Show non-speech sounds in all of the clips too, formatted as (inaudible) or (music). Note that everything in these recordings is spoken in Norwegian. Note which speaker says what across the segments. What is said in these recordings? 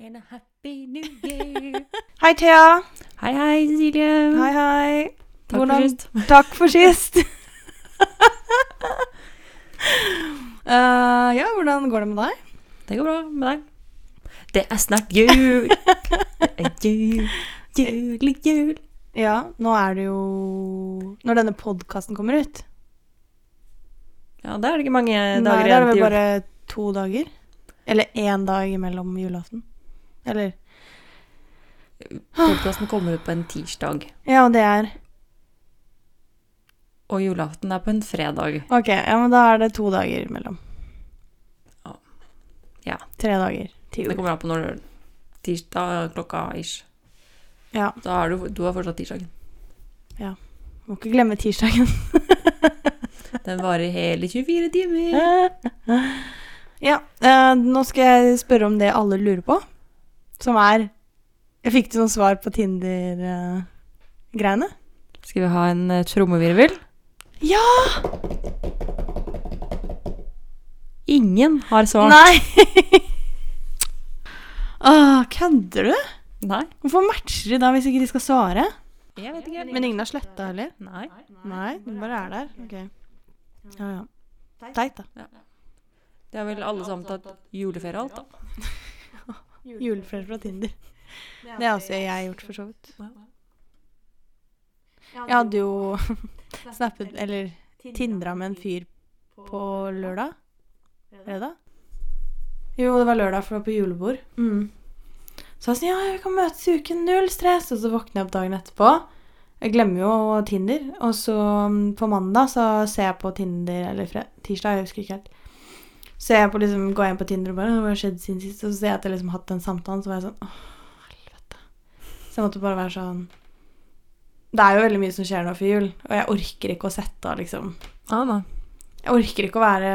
Speaker 1: And a happy new year.
Speaker 2: Hei, Thea.
Speaker 1: (laughs) hei, hei, Cecilie.
Speaker 2: Hei, hei.
Speaker 1: Takk
Speaker 2: Hvordan-
Speaker 1: for sist.
Speaker 2: Takk for sist. (laughs) Eh, ja, hvordan går det med deg?
Speaker 1: Det går bra med deg. Det er snart
Speaker 2: (laughs)
Speaker 1: jul. Det er jul, jul, jul.
Speaker 2: Ja, nå er det jo Når denne podkasten kommer ut
Speaker 1: Ja, da er det ikke mange
Speaker 2: Nei,
Speaker 1: dager
Speaker 2: da er
Speaker 1: igjen
Speaker 2: det
Speaker 1: til
Speaker 2: vel
Speaker 1: jul.
Speaker 2: bare (gasps) to dager. Eller én dag imellom julaften. Eller
Speaker 1: Podkasten kommer ut på en tirsdag,
Speaker 2: Ja, og det er
Speaker 1: og julaften er på en fredag.
Speaker 2: Ok, ja, men da er det to dager imellom.
Speaker 1: Ja. Ja.
Speaker 2: Tre dager til
Speaker 1: Det
Speaker 2: jul.
Speaker 1: kommer an på når tirsdag klokka ish.
Speaker 2: Ja.
Speaker 1: Da er du, du har fortsatt tirsdagen.
Speaker 2: Må ikke glemme tirsdagen.
Speaker 1: Den varer hele 24 timer.
Speaker 2: (laughs) ja, eh, nå skal jeg spørre om det alle lurer på, som er Jeg fikk du noen svar på Tinder-greiene?
Speaker 1: Skal vi ha en eh, trommevirvel?
Speaker 2: Ja!
Speaker 1: Ingen har svart.
Speaker 2: Nei! (laughs) Åh, kødder du?
Speaker 1: Nei.
Speaker 2: Hvorfor matcher de da hvis ikke de skal svare?
Speaker 1: Jeg vet ikke.
Speaker 2: Men ingen har sletta heller?
Speaker 1: Nei.
Speaker 2: Nei, den bare er der. Ok. Ja, ja. Teit, da.
Speaker 1: Det er vel alle sammen tatt juleferie og alt, da.
Speaker 2: Juleflør fra Tinder. Det altså- har også jeg gjort, for så vidt. Jeg hadde jo snappet, eller tindra med en fyr på lørdag. Fredag? Jo, det var lørdag, for det var på julebord. Mm. Så jeg sa ja, vi kan møtes i uken, null stress. Og så våkner jeg opp dagen etterpå. Jeg glemmer jo Tinder. Og så mm, på mandag så ser jeg på Tinder, eller fre tirsdag, jeg husker ikke helt. Så jeg på liksom, går jeg inn på Tinder og bare Hva har skjedd siden sist? Og så ser jeg at jeg liksom har hatt den samtalen, så var jeg sånn Å, helvete. Så jeg måtte bare være sånn Det er jo veldig mye som skjer nå for jul, og jeg orker ikke å sette av liksom
Speaker 1: Ah, nei.
Speaker 2: jeg orker ikke å være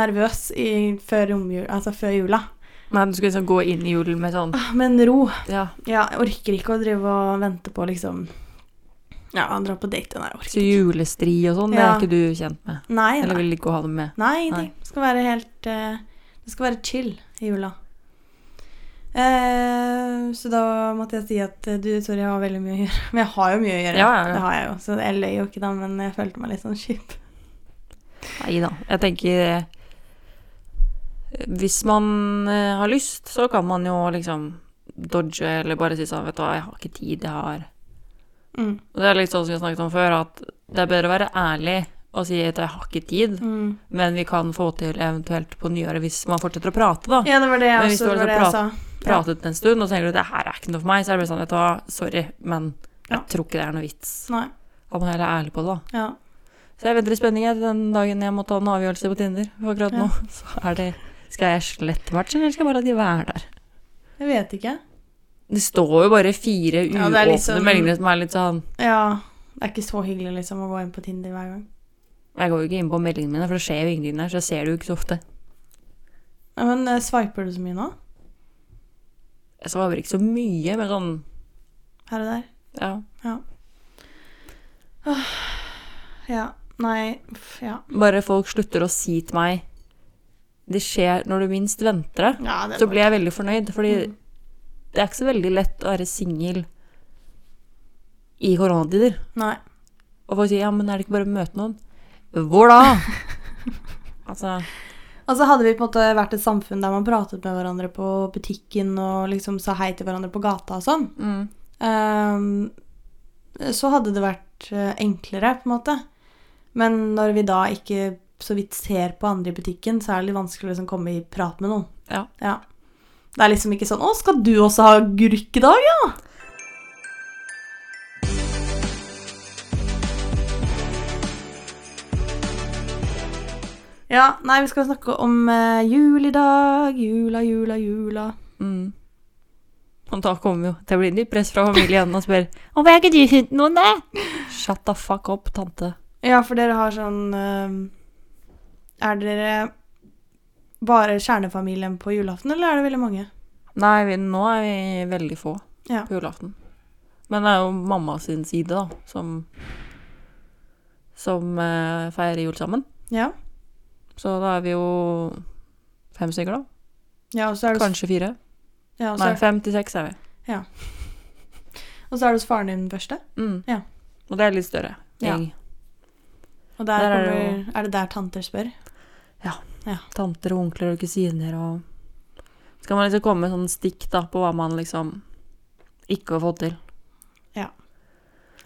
Speaker 2: nervøs i, før, romjul, altså før jula.
Speaker 1: nei, du skulle liksom gå inn i julen med sånn
Speaker 2: Ah, Men ro.
Speaker 1: Ja,
Speaker 2: Ja, jeg orker ikke å drive og vente på liksom Ja, dra på date. Nei, jeg orker
Speaker 1: så julestri og sånn, det
Speaker 2: Ja.
Speaker 1: er ikke du kjent med?
Speaker 2: ikke. Nei,
Speaker 1: Eller
Speaker 2: nei.
Speaker 1: vil ikke ha det med?
Speaker 2: nei, nei.
Speaker 1: Nei.
Speaker 2: Det skal være helt eh, Det skal være chill i jula. Eh, så da måtte jeg si at eh, du, sorry, jeg har veldig mye å gjøre. Men jeg har jo mye å gjøre.
Speaker 1: Ja, ja, ja.
Speaker 2: Det har jeg jo. Så jeg løy jo ikke da, men jeg følte meg litt sånn kjip.
Speaker 1: Nei da. Jeg tenker eh, Hvis man eh, har lyst, så kan man jo liksom dodge eller bare si sånn Vet du hva, jeg har ikke tid, jeg har
Speaker 2: Mm.
Speaker 1: Og det er litt sånn som vi har snakket om før, at det er bedre å være ærlig og si at jeg har ikke tid,
Speaker 2: Mm.
Speaker 1: men vi kan få til eventuelt på nyåret hvis man fortsetter å prate, da.
Speaker 2: Ja, det var det
Speaker 1: Men
Speaker 2: jeg
Speaker 1: hvis du
Speaker 2: også
Speaker 1: har
Speaker 2: det var det jeg
Speaker 1: prat-
Speaker 2: sa.
Speaker 1: pratet en stund, og så tenker du det her er ikke noe for meg, så er det bare sånn, vet du hva, sorry, men jeg
Speaker 2: Ja.
Speaker 1: tror ikke det er noe vits.
Speaker 2: Nei.
Speaker 1: Da må jeg heller være ærlig på det, da.
Speaker 2: Ja.
Speaker 1: Så jeg venter i spenning jeg, til den dagen jeg må ta en avgjørelse på Tinder. For akkurat nå
Speaker 2: Ja.
Speaker 1: (laughs) så er det Skal jeg slette matchen, eller skal jeg bare la de være der?
Speaker 2: Jeg vet ikke.
Speaker 1: Det står jo bare fire
Speaker 2: Ja, det
Speaker 1: uåpne
Speaker 2: er liksom-
Speaker 1: meldinger som er litt sånn
Speaker 2: Ja, det er ikke så hyggelig liksom å gå inn på Tinder hver gang.
Speaker 1: Jeg går jo ikke inn på meldingene mine, for det skjer jo ingenting der, så jeg ser det jo ikke så ofte.
Speaker 2: Ja, men eh, swiper du så mye nå?
Speaker 1: Jeg svarer ikke så mye, men sånn
Speaker 2: Her og der?
Speaker 1: Ja.
Speaker 2: Ja. Nei, uff, ja.
Speaker 1: Bare folk slutter å si til meg Det skjer når du minst venter det.
Speaker 2: ja det
Speaker 1: så
Speaker 2: var-
Speaker 1: ble jeg veldig fornøyd, fordi
Speaker 2: Mm.
Speaker 1: det er ikke så veldig lett å være singel i koronatider.
Speaker 2: Nei.
Speaker 1: Og folk sier ja, men er det ikke bare å møte noen? Hvor da? (laughs) altså,
Speaker 2: Altså hadde vi på en måte vært et samfunn der man pratet med hverandre på butikken og liksom sa hei til hverandre på gata og sånn,
Speaker 1: mm,
Speaker 2: ehm, så hadde det vært eh, enklere på en måte. Men når vi da ikke så vidt ser på andre i butikken, så er det litt vanskelig å liksom komme i prat med noen.
Speaker 1: ja.
Speaker 2: Ja. Det er liksom ikke sånn 'Å, skal du også ha agurk i dag, ja?' Ja, nei, vi skal snakke om eh, jul i dag. Jula, jula, jula.
Speaker 1: Mm. Og da kommer jo Det blir nytt press fra familien og spør Hvorfor har ikke du funnet noen, da? Shut the fuck up, tante.
Speaker 2: Ja, for dere har sånn eh, Er dere bare kjernefamilien på julaften, eller er det veldig mange?
Speaker 1: Nei, vi, nå er vi veldig få
Speaker 2: Ja.
Speaker 1: på julaften. Men det er jo mamma sin side, da, som Som eh, feirer jul sammen.
Speaker 2: Ja.
Speaker 1: Så da er vi jo fem stykker, da.
Speaker 2: ja og så er det
Speaker 1: Kanskje fire.
Speaker 2: Ja, og, så
Speaker 1: Nei,
Speaker 2: er,
Speaker 1: 56 er vi.
Speaker 2: og så er det hos faren din den første.
Speaker 1: Mm.
Speaker 2: Ja.
Speaker 1: Og det er litt større
Speaker 2: Ja.
Speaker 1: gjeng.
Speaker 2: Og der,
Speaker 1: Der er det
Speaker 2: kommer, er, det der tanter spør?
Speaker 1: Tanter og onkler og kusiner og Så kan man liksom komme med sånn stikk da, på hva man liksom ikke har fått til.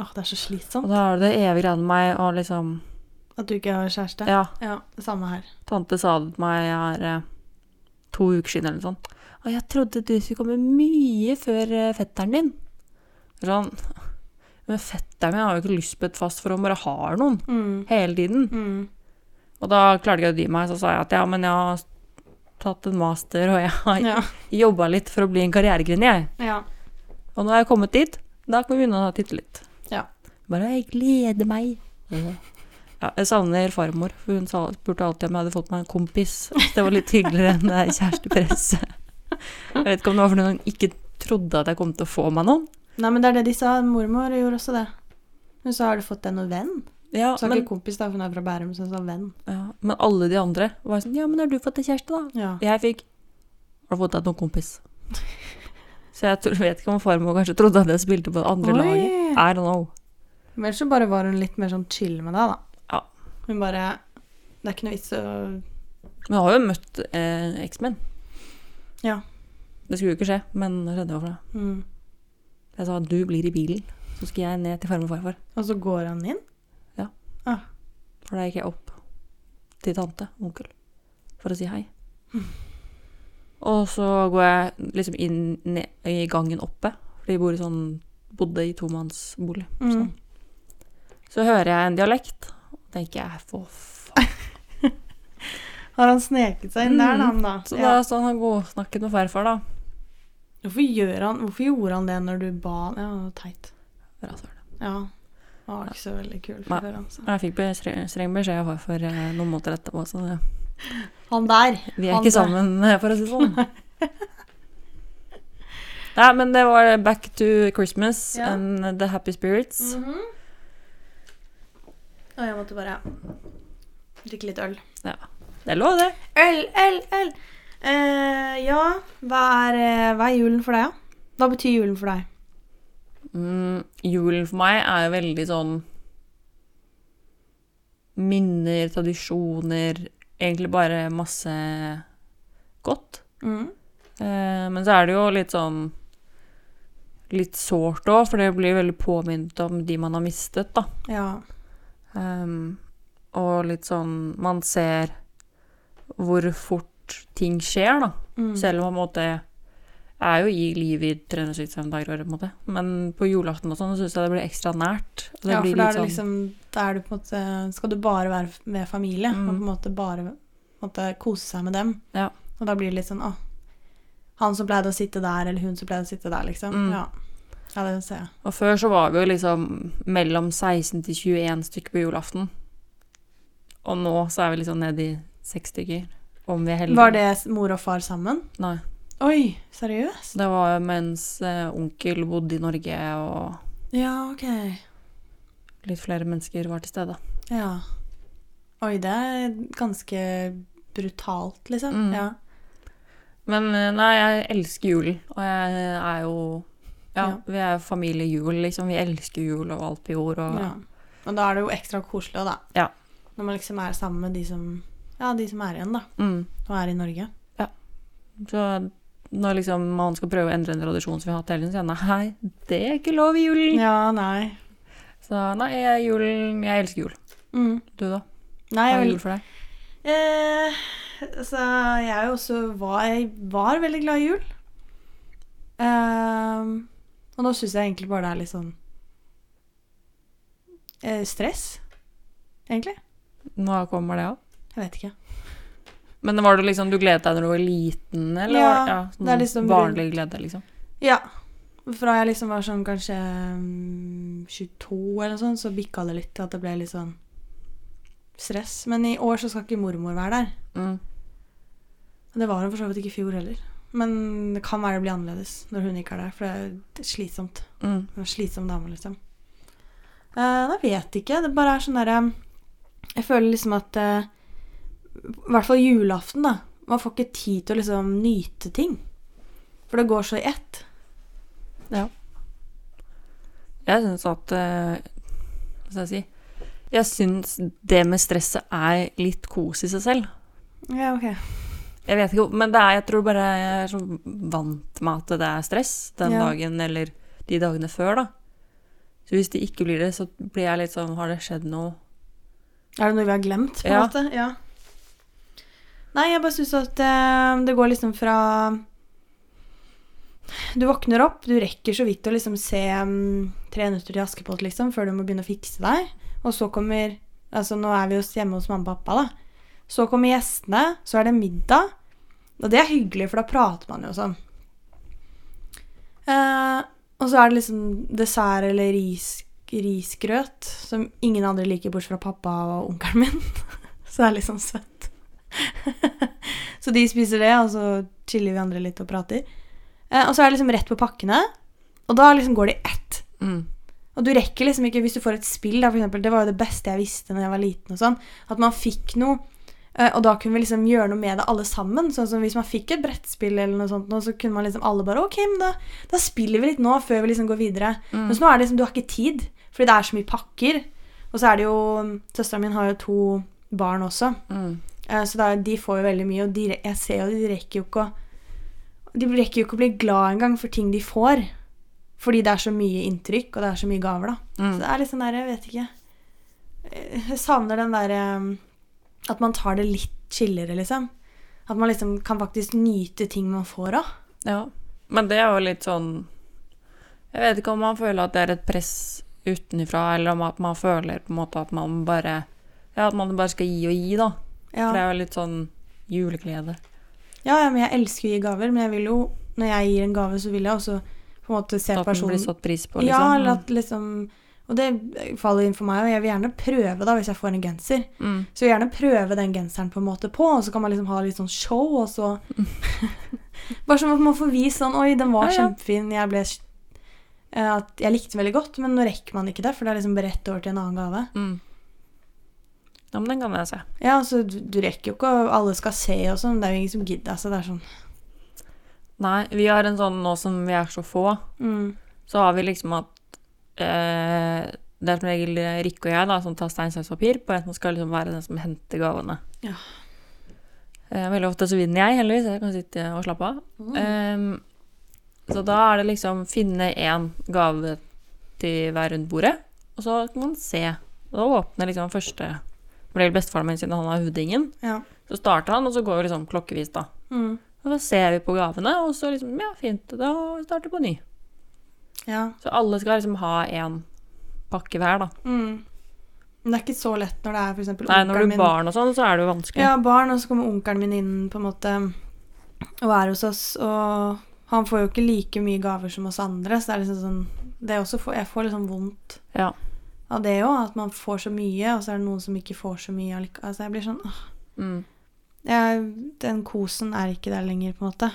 Speaker 2: Åh, det er så
Speaker 1: Og
Speaker 2: slitsomt
Speaker 1: da er det det evige greia med meg og liksom
Speaker 2: at du ikke har kjæreste.
Speaker 1: Ja,
Speaker 2: Ja, samme her.
Speaker 1: tante sa det til meg her eh, to uker siden eller noe sånt. Og jeg trodde du skulle komme mye før eh, fetteren din. Sånn (laughs) Men fetteren min har jo ikke lyst på et fast for han bare har noen
Speaker 2: Mm.
Speaker 1: hele tiden.
Speaker 2: Mm.
Speaker 1: Og da klarte jeg å dy meg, så sa jeg at ja, men jeg har tatt en master, og jeg har
Speaker 2: Ja.
Speaker 1: jobba litt for å bli en karrierekvinne, jeg.
Speaker 2: ja.
Speaker 1: Og når jeg er kommet dit, da kan vi begynne å titte litt.
Speaker 2: Ja.
Speaker 1: Bare jeg gleder meg. Ja, jeg savner farmor, for hun sa- spurte alltid om jeg hadde fått meg en kompis. Så det var litt hyggeligere enn det kjærestepresset. Jeg vet ikke om det var fordi hun ikke trodde at jeg kom til å få meg noen.
Speaker 2: Nei, men det er det de sa. Mormor gjorde også det. Hun sa 'har du fått deg noen venn?'
Speaker 1: Ja,
Speaker 2: Hun sa
Speaker 1: men,
Speaker 2: ikke kompis, da, for hun er fra Bærum, så hun sa venn.
Speaker 1: ja, men alle de andre var sånn Ja, men har du fått deg kjæreste, da?
Speaker 2: Ja.
Speaker 1: Jeg fikk Har du fått deg noen kompis? Så jeg tror, vet ikke om farmor kanskje trodde at jeg spilte på det andre laget.
Speaker 2: Oi!
Speaker 1: I don't know.
Speaker 2: Men ellers så bare var hun litt mer sånn chill med deg, da.
Speaker 1: Ja.
Speaker 2: Hun bare 'Det er ikke noe vits å
Speaker 1: Men jeg har jo møtt eh, eksmenn.
Speaker 2: Ja.
Speaker 1: Det skulle jo ikke skje, men jeg skjønner hvorfor. det.
Speaker 2: mm.
Speaker 1: Jeg sa du blir i bilen, så skal jeg ned til farmor og farfar.
Speaker 2: Og så går han inn?
Speaker 1: For da gikk jeg opp til tante og onkel for å si
Speaker 2: (laughs)
Speaker 1: hei. Og så går jeg liksom inn ned, i gangen oppe, for de bor i sånn, bodde i tomannsbolig.
Speaker 2: Mm.
Speaker 1: Så hører jeg en dialekt, og tenker jeg for faen.
Speaker 2: Har han sneket seg inn der, da, han Mm. da?
Speaker 1: Så da
Speaker 2: (laughs) Ja.
Speaker 1: sånn han godsnakket med farfar, da.
Speaker 2: Hvorfor, gjør han, hvorfor gjorde han det når du ba han? Ja, det var teit.
Speaker 1: Rasshøl.
Speaker 2: Ja. Han var ikke så veldig kul
Speaker 1: Nei.
Speaker 2: for før, altså.
Speaker 1: Jeg fikk be- streng streng beskjed av farfar eh, noen måneder etterpå, så det
Speaker 2: Han der!
Speaker 1: Vi er ikke
Speaker 2: Han der.
Speaker 1: sammen, for å si det sånn. (laughs) Nei, men det var Back to Christmas
Speaker 2: Ja.
Speaker 1: and The Happy Spirits.
Speaker 2: Mhm. Og jeg måtte bare drikke litt øl.
Speaker 1: Det er lov, det.
Speaker 2: Øl, øl, øl! Eh, ja, hva er, eh, hva er julen for deg, da? Hva betyr julen for deg?
Speaker 1: Mm, julen for meg er jo veldig sånn Minner, tradisjoner Egentlig bare masse godt.
Speaker 2: Mm.
Speaker 1: Eh, men så er det jo litt sånn Litt sårt òg, for det blir veldig påminnet om de man har mistet, da.
Speaker 2: Ja.
Speaker 1: Ehm, og litt sånn Man ser hvor fort ting skjer, da.
Speaker 2: Mm.
Speaker 1: Selv om på en måte jeg er jo i livet i 365 dager i året, på en måte. Men på julaften og sånn syns jeg det blir ekstra nært. Og det
Speaker 2: ja,
Speaker 1: blir
Speaker 2: for
Speaker 1: litt
Speaker 2: da er det
Speaker 1: sånn,
Speaker 2: liksom Da er du på en måte Skal du bare være f- med familie,
Speaker 1: Mm.
Speaker 2: og på en måte bare på en måte, kose seg med dem.
Speaker 1: Ja.
Speaker 2: Og da blir det litt sånn Å, han som pleide å sitte der, eller hun som pleide å sitte der, liksom.
Speaker 1: Mm.
Speaker 2: Ja. ja, det ser jeg.
Speaker 1: Og før så var vi jo liksom mellom 16 til 21 stykker på julaften. Og nå så er vi liksom nede i seks stykker. Om vi er heldige.
Speaker 2: Var det s- mor og far sammen?
Speaker 1: Nei.
Speaker 2: Oi, seriøst?
Speaker 1: Det var jo mens eh, onkel bodde i Norge, og
Speaker 2: Ja, ok.
Speaker 1: litt flere mennesker var til stede.
Speaker 2: Ja. Oi, det er ganske brutalt, liksom.
Speaker 1: Mm.
Speaker 2: Ja.
Speaker 1: Men eh, nei, jeg elsker julen, og jeg er jo ja,
Speaker 2: Ja.
Speaker 1: vi er familiejul, liksom. Vi elsker jul og alt på jord. Og,
Speaker 2: ja. Og da er det jo ekstra koselig, da.
Speaker 1: Ja.
Speaker 2: Når man liksom er sammen med de som, ja, de som er igjen, da.
Speaker 1: mm.
Speaker 2: Og er i Norge.
Speaker 1: Så når liksom man skal prøve å endre en tradisjon som vi har hatt hele tiden, så sier jeg nei, det er ikke lov i julen.
Speaker 2: Ja, nei.
Speaker 1: Så nei, jeg, julen, jeg elsker jul.
Speaker 2: Mm.
Speaker 1: Du da? Hva
Speaker 2: Nei, jeg
Speaker 1: er
Speaker 2: vil
Speaker 1: jul for deg?
Speaker 2: eh, Så jeg er jo også var, jeg var veldig glad i jul. Ehm, og nå syns jeg egentlig bare det er litt sånn eh, stress, egentlig.
Speaker 1: Nå kommer det òg.
Speaker 2: Jeg vet ikke.
Speaker 1: Men var det liksom, du gledet deg når du var liten, eller?
Speaker 2: Ja,
Speaker 1: var- sånn
Speaker 2: det er liksom rundt-
Speaker 1: Barnlig glede, liksom.
Speaker 2: Ja. Fra jeg liksom var sånn kanskje mm, 22 eller noe sånt, så bikka det litt til at det ble litt sånn stress. Men i år så skal ikke mormor være der.
Speaker 1: Mm.
Speaker 2: Og Det var hun for så vidt ikke i fjor heller. Men det kan være det blir annerledes når hun ikke er der, for det er slitsomt.
Speaker 1: Mm.
Speaker 2: Hun er en slitsom dame, liksom. Eh, da vet jeg ikke. Det bare er sånn derre Jeg føler liksom at eh, I hvert fall julaften, da. Man får ikke tid til å liksom nyte ting. For det går så i ett.
Speaker 1: Jeg syns at eh, Hva skal jeg si Jeg syns det med stresset er litt kos i seg selv.
Speaker 2: Ja, ok.
Speaker 1: Jeg vet ikke, hvor- men det er, jeg tror bare jeg er så vant med at det er stress den
Speaker 2: Ja.
Speaker 1: dagen eller de dagene før, da. Så hvis det ikke blir det, så blir jeg litt sånn Har det skjedd noe?
Speaker 2: Er det noe vi har glemt, på en
Speaker 1: Ja.
Speaker 2: måte? Ja. Nei, jeg bare syns at eh, det går liksom fra Du våkner opp, du rekker så vidt å liksom se mm, Tre nøtter til Askepott, liksom, før du må begynne å fikse deg. Og så kommer Altså, nå er vi jo hjemme hos mamma og pappa, da. Så kommer gjestene, så er det middag. Og det er hyggelig, for da prater man jo sånn. Eh, og så er det liksom dessert eller ris, risgrøt, som ingen andre liker, bortsett fra pappa og onkelen min. (laughs) så det er litt sånn søtt. (laughs) så de spiser det, og så chiller vi andre litt og prater. Eh, og så er det liksom rett på pakkene, og da liksom går det i ett.
Speaker 1: Mm.
Speaker 2: Og du rekker liksom ikke, hvis du får et spill, da, for eksempel, det var jo det beste jeg visste når jeg var liten, og sånn, at man fikk noe, eh, og da kunne vi liksom gjøre noe med det alle sammen. Sånn som hvis man fikk et brettspill, eller noe sånt, nå, så kunne man liksom alle bare OK, men da, da spiller vi litt nå, før vi liksom går videre.
Speaker 1: Mm.
Speaker 2: Mens nå er det liksom, du har ikke tid, fordi det er så mye pakker. Og så er det jo Søstera min har jo to barn også,
Speaker 1: Mm.
Speaker 2: eh, så da, de får jo veldig mye, og de, re- jeg ser jo de rekker jo ikke å De rekker jo ikke å bli glad engang for ting de får. Fordi det er så mye inntrykk, og det er så mye gaver, da. Så
Speaker 1: Mm.
Speaker 2: det er litt sånn der, jeg vet ikke Eh, Jeg savner den der eh, At man tar det litt chillere, liksom. At man liksom kan faktisk nyte ting man får òg.
Speaker 1: Ja. Men det er jo litt sånn Jeg vet ikke om man føler at det er et press utenfra, eller om at man føler på en måte at man bare Ja, at man bare skal gi og gi, da. For det
Speaker 2: Ja.
Speaker 1: er jo litt sånn juleglede.
Speaker 2: Ja, ja, men jeg elsker å gi gaver, men jeg vil jo Når jeg gir en gave, så vil jeg også på en måte se
Speaker 1: At den blir
Speaker 2: personen
Speaker 1: satt pris på, liksom.
Speaker 2: Ja, eller at liksom Og det faller inn for meg, og jeg vil gjerne prøve, da, hvis jeg får en genser.
Speaker 1: mm.
Speaker 2: Så gjerne prøve den genseren på en måte på, og så kan man liksom ha litt sånn show, og
Speaker 1: (laughs)
Speaker 2: så Bare sånn at man får vist sånn Oi, den var
Speaker 1: Ja, ja.
Speaker 2: kjempefin, jeg ble eh, at jeg likte den veldig godt, men nå rekker man ikke det, for det er liksom bare rett over til en annen gave.
Speaker 1: Mm. Ja, men den kan jeg se.
Speaker 2: Ja, altså, du, du rekker jo ikke, og alle skal se og sånn, det er jo ingen som gidder, altså, det er sånn
Speaker 1: Nei, vi har en sånn nå som vi er så få,
Speaker 2: mm,
Speaker 1: så har vi liksom at eh, Det er som regel Rikke og jeg da, som tar stein, saks, papir på en som skal liksom være den som henter gavene.
Speaker 2: Ja.
Speaker 1: Eh, veldig ofte så vinner jeg, heldigvis. Jeg kan sitte og slappe av. Ehm, så da er det liksom finne én gave til hver rundt bordet, og så kan man se. Og da åpner liksom første For det er bestefaren min siden han har høvdingen.
Speaker 2: Ja.
Speaker 1: Så starter han, og så går jo liksom klokkevis, da.
Speaker 2: Mm,
Speaker 1: Og da ser vi på gavene, og så liksom Ja, fint. Da starter vi på ny.
Speaker 2: ja.
Speaker 1: Så alle skal liksom ha én pakke hver, da.
Speaker 2: Mm. Men det er ikke så lett når det er for eksempel
Speaker 1: Nei, når
Speaker 2: onkelen
Speaker 1: du er barn og sånn, så er det jo vanskelig.
Speaker 2: Ja, barn, og så kommer onkelen min inn på en måte og er hos oss, og han får jo ikke like mye gaver som oss andre, så det er liksom sånn det er også, få- Jeg får litt sånn vondt
Speaker 1: Ja.
Speaker 2: av det òg, at man får så mye, og så er det noen som ikke får så mye allike- Altså, jeg blir sånn åh,
Speaker 1: Mm.
Speaker 2: jeg, Den kosen er ikke der lenger, på en måte.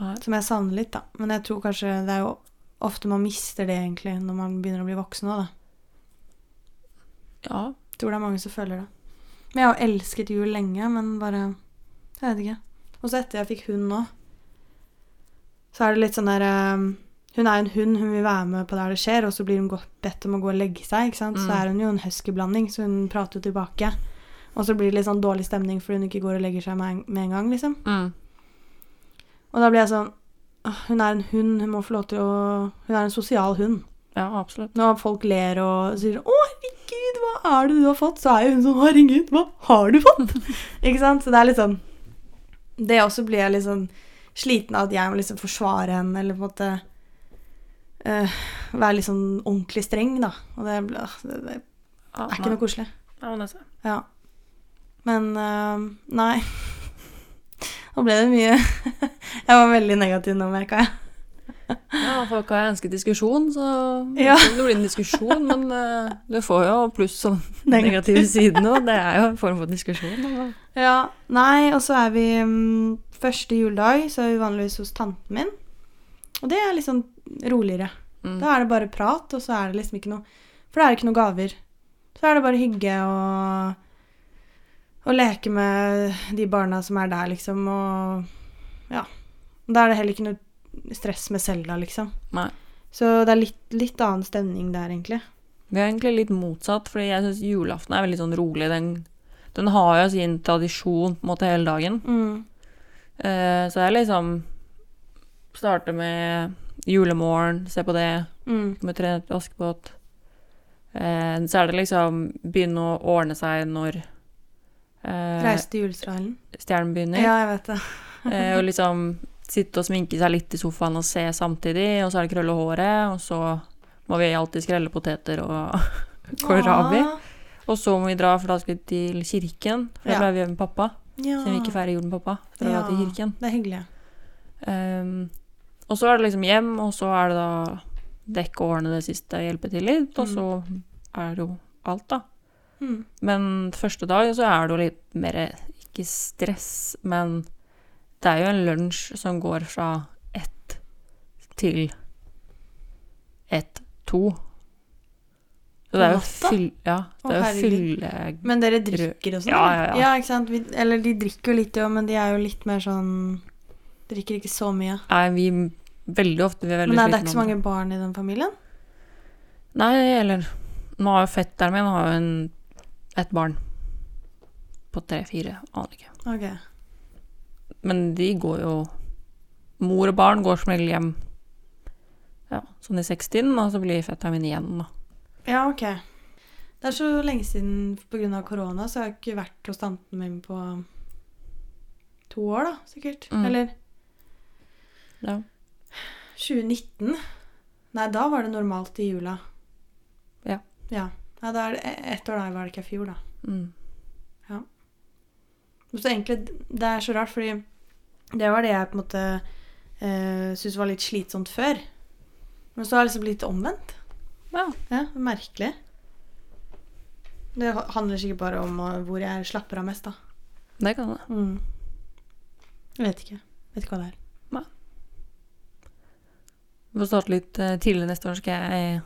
Speaker 1: Nei.
Speaker 2: Som jeg savner litt, da. Men jeg tror kanskje det er jo ofte man mister det, egentlig, når man begynner å bli voksen òg, da.
Speaker 1: Ja.
Speaker 2: Jeg tror det er mange som føler det. Men jeg har jo elsket jul lenge, men bare Jeg vet ikke. Og så etter jeg fikk hund nå, så er det litt sånn der eh, Hun er en hund, hun vil være med på der det skjer, og så blir hun godt bedt om å gå og legge seg. ikke sant? Så
Speaker 1: Mm.
Speaker 2: er hun jo en huskyblanding, så hun prater jo tilbake. Og så blir det litt sånn dårlig stemning fordi hun ikke går og legger seg med en, med en gang, liksom.
Speaker 1: Mm.
Speaker 2: Og da blir jeg sånn «Åh, Hun er en hund, hun må få lov til å Hun er en sosial hund.
Speaker 1: Ja, absolutt.
Speaker 2: Når folk ler og sier 'Å, herregud, hva er det du har fått?' Så er jo hun sånn 'Herregud, hva har du fått?' (laughs) Ikke sant? Så det er litt sånn Det også blir jeg litt sånn sliten av at jeg må liksom forsvare henne, eller på en måte eh, Være litt sånn ordentlig streng, da. Og det, blir- åh, det, det
Speaker 1: Ja,
Speaker 2: er ikke
Speaker 1: nei.
Speaker 2: noe koselig.
Speaker 1: Ja, men altså. det er så.
Speaker 2: Ja. Men eh, nei. (laughs) Nå ble det mye (laughs) Jeg var veldig negativ nå, merka jeg. (laughs)
Speaker 1: Ja, folk har ønsket diskusjon, så (laughs)
Speaker 2: Ja.
Speaker 1: det blir en diskusjon, men eh, du får jo pluss (laughs) og
Speaker 2: Negativ.
Speaker 1: negative sidene, og det er jo en form for diskusjon. da.
Speaker 2: Ja, nei, og så er vi mm, Første juledag så er vi vanligvis hos tanten min. Og det er litt sånn roligere.
Speaker 1: Mm.
Speaker 2: Da er det bare prat, og så er det liksom ikke noe For da er det ikke noe gaver. Så er det bare hygge og Å leke med de barna som er der, liksom, og Ja. Og da er det heller ikke noe stress med Selda, liksom.
Speaker 1: Nei.
Speaker 2: Så det er litt, litt annen stemning der, egentlig.
Speaker 1: Vi er egentlig litt motsatt, fordi jeg syns julaften er veldig sånn rolig. Den, den har jo sin tradisjon på en måte hele dagen.
Speaker 2: Mm,
Speaker 1: Eh, så jeg liksom starter med julemorgen, ser på det,
Speaker 2: Mm.
Speaker 1: med Tre nøtter til Askepott. Eh, så er det liksom begynne å ordne seg når eh,
Speaker 2: Reise til julestralen.
Speaker 1: stjernen begynner.
Speaker 2: Ja, jeg vet det.
Speaker 1: (laughs) Eh, og liksom sitte og sminke seg litt i sofaen og se samtidig, og så er det krølle håret, og så må vi alltid skrelle poteter og (laughs) kålrabi.
Speaker 2: Ah,
Speaker 1: Og så må vi dra, for da skal vi til kirken, for da
Speaker 2: Ja.
Speaker 1: pleier vi å gjøre med pappa.
Speaker 2: Ja.
Speaker 1: Siden vi ikke feirer jul med pappa, så da drar vi til
Speaker 2: Ja,
Speaker 1: kirken.
Speaker 2: Det er hyggelig.
Speaker 1: Ehm, og så er det liksom hjem, og så er det da dekke og ordne det siste, hjelpe til litt, og
Speaker 2: Mm.
Speaker 1: så er det jo alt, da.
Speaker 2: Mm.
Speaker 1: Men første dag så er det jo litt mer ikke stress, men det er jo en lunsj som går fra ett til ett, to. Så det er jo
Speaker 2: Natta?
Speaker 1: fyll... Ja,
Speaker 2: Å,
Speaker 1: det er jo
Speaker 2: herregud.
Speaker 1: fylle...
Speaker 2: Men dere drikker og sånn?
Speaker 1: Ja,
Speaker 2: eller?
Speaker 1: ja, ja.
Speaker 2: ikke sant? Vi, eller de drikker jo litt, jo, men de er jo litt mer sånn Drikker ikke så mye.
Speaker 1: Nei, vi veldig ofte vi er veldig
Speaker 2: Men er det
Speaker 1: slitne
Speaker 2: ikke så
Speaker 1: om
Speaker 2: mange barn i den familien?
Speaker 1: Nei, eller Nå har jo fetteren min har jo en, et barn på tre-fire, aner ikke.
Speaker 2: Ok.
Speaker 1: Men de går jo Mor og barn går som regel hjem ja, sånn i 60-tiden, og så blir fetteren min igjen, da.
Speaker 2: Ja, ok. Det er så lenge siden pga. korona, så har jeg ikke vært hos tanten min på to år, da, sikkert.
Speaker 1: Mm.
Speaker 2: Eller
Speaker 1: Ja.
Speaker 2: 2019. Nei, da var det normalt i jula.
Speaker 1: Ja.
Speaker 2: Ja. Nei, da er det e- ett år der var det ikke i fjor, da.
Speaker 1: Mm.
Speaker 2: Så egentlig, det er så rart, fordi det var det jeg på en måte eh, syntes var litt slitsomt før. Men så har det liksom blitt omvendt.
Speaker 1: ja.
Speaker 2: Ja, merkelig. Det ha- handler sikkert bare om eh, hvor jeg slapper av mest, da.
Speaker 1: Det kan det.
Speaker 2: Mm. Jeg vet ikke. Vet ikke hva det er.
Speaker 1: Vi får starte litt eh, tidligere neste år, så skal jeg eh,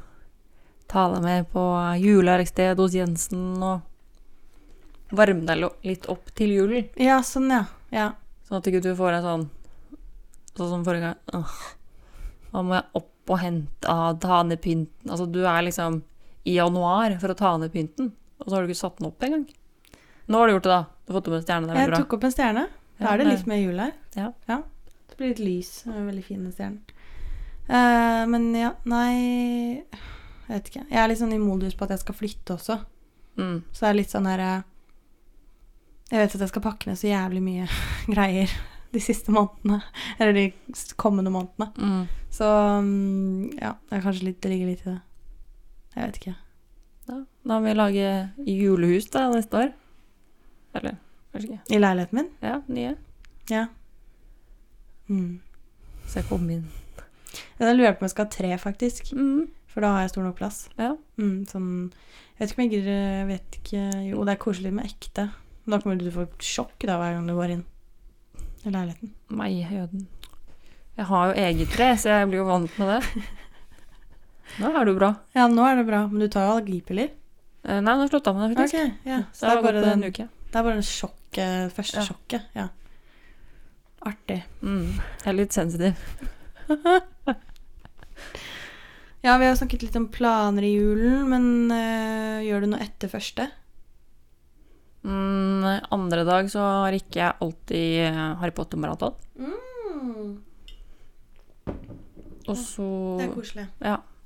Speaker 1: tale med på juleverksted hos Jensen og varme deg lo- litt opp til julen.
Speaker 2: Ja, sånn, ja. Ja.
Speaker 1: Sånn at ikke du får en sånn Sånn som forrige gang. «Åh, Nå må jeg opp og hente ah, ta ned pynten. Altså, du er liksom i januar for å ta ned pynten, og så har du ikke satt den opp engang. Nå har du gjort det, da. Du har fått opp en stjerne. Det er
Speaker 2: Jeg
Speaker 1: veldig bra.
Speaker 2: tok opp en stjerne. Da
Speaker 1: Ja,
Speaker 2: er det
Speaker 1: det-
Speaker 2: litt mer jul her.
Speaker 1: Ja.
Speaker 2: Det blir litt lys. Det er en Veldig fin den stjernen. Eh, men ja, nei Jeg vet ikke. Jeg er litt sånn i modus på at jeg skal flytte også.
Speaker 1: Mm.
Speaker 2: Så det er litt sånn her eh, Jeg vet at jeg skal pakke ned så jævlig mye (laughs) greier de siste månedene. Eller de s- kommende månedene.
Speaker 1: Mm.
Speaker 2: Så mm, ja, det er kanskje litt, det ligger litt i det. Jeg vet ikke.
Speaker 1: Ja. Da må vi lage julehus da, neste år. Eller kanskje ikke.
Speaker 2: I leiligheten min?
Speaker 1: Ja, nye.
Speaker 2: Ja. Mm.
Speaker 1: Så jeg kom inn.
Speaker 2: Ja, Da lurer jeg på om jeg skal ha tre, faktisk.
Speaker 1: Mm.
Speaker 2: For da har jeg stor nok plass.
Speaker 1: Ja.
Speaker 2: Mm, sånn, jeg vet ikke om jeg gidder jeg vet ikke, Jo, det er koselig med ekte. Men da kommer du til å få et sjokk da, hver gang du går inn i leiligheten.
Speaker 1: Meg, jøden. Jeg har jo eget tre, så jeg blir jo vant med
Speaker 2: (laughs)
Speaker 1: det. Nå er du bra.
Speaker 2: Ja, nå er det bra, men du tar jo allergipiller.
Speaker 1: Eh, Nei, nå slutta med det, faktisk.
Speaker 2: ja.
Speaker 1: Så
Speaker 2: Så det
Speaker 1: jeg
Speaker 2: er
Speaker 1: har gått
Speaker 2: bare
Speaker 1: en
Speaker 2: den,
Speaker 1: uke.
Speaker 2: det er bare den sjokk, eh, første
Speaker 1: Ja.
Speaker 2: sjokket. Ja. Artig.
Speaker 1: Mm. Jeg er litt sensitiv.
Speaker 2: Ja, vi har snakket litt om planer i julen, men eh, gjør du noe etter første?
Speaker 1: Mm, andre dag så har ikke jeg alltid eh, Harry Potter-maraton. Og så,
Speaker 2: Hmm, Det er koselig.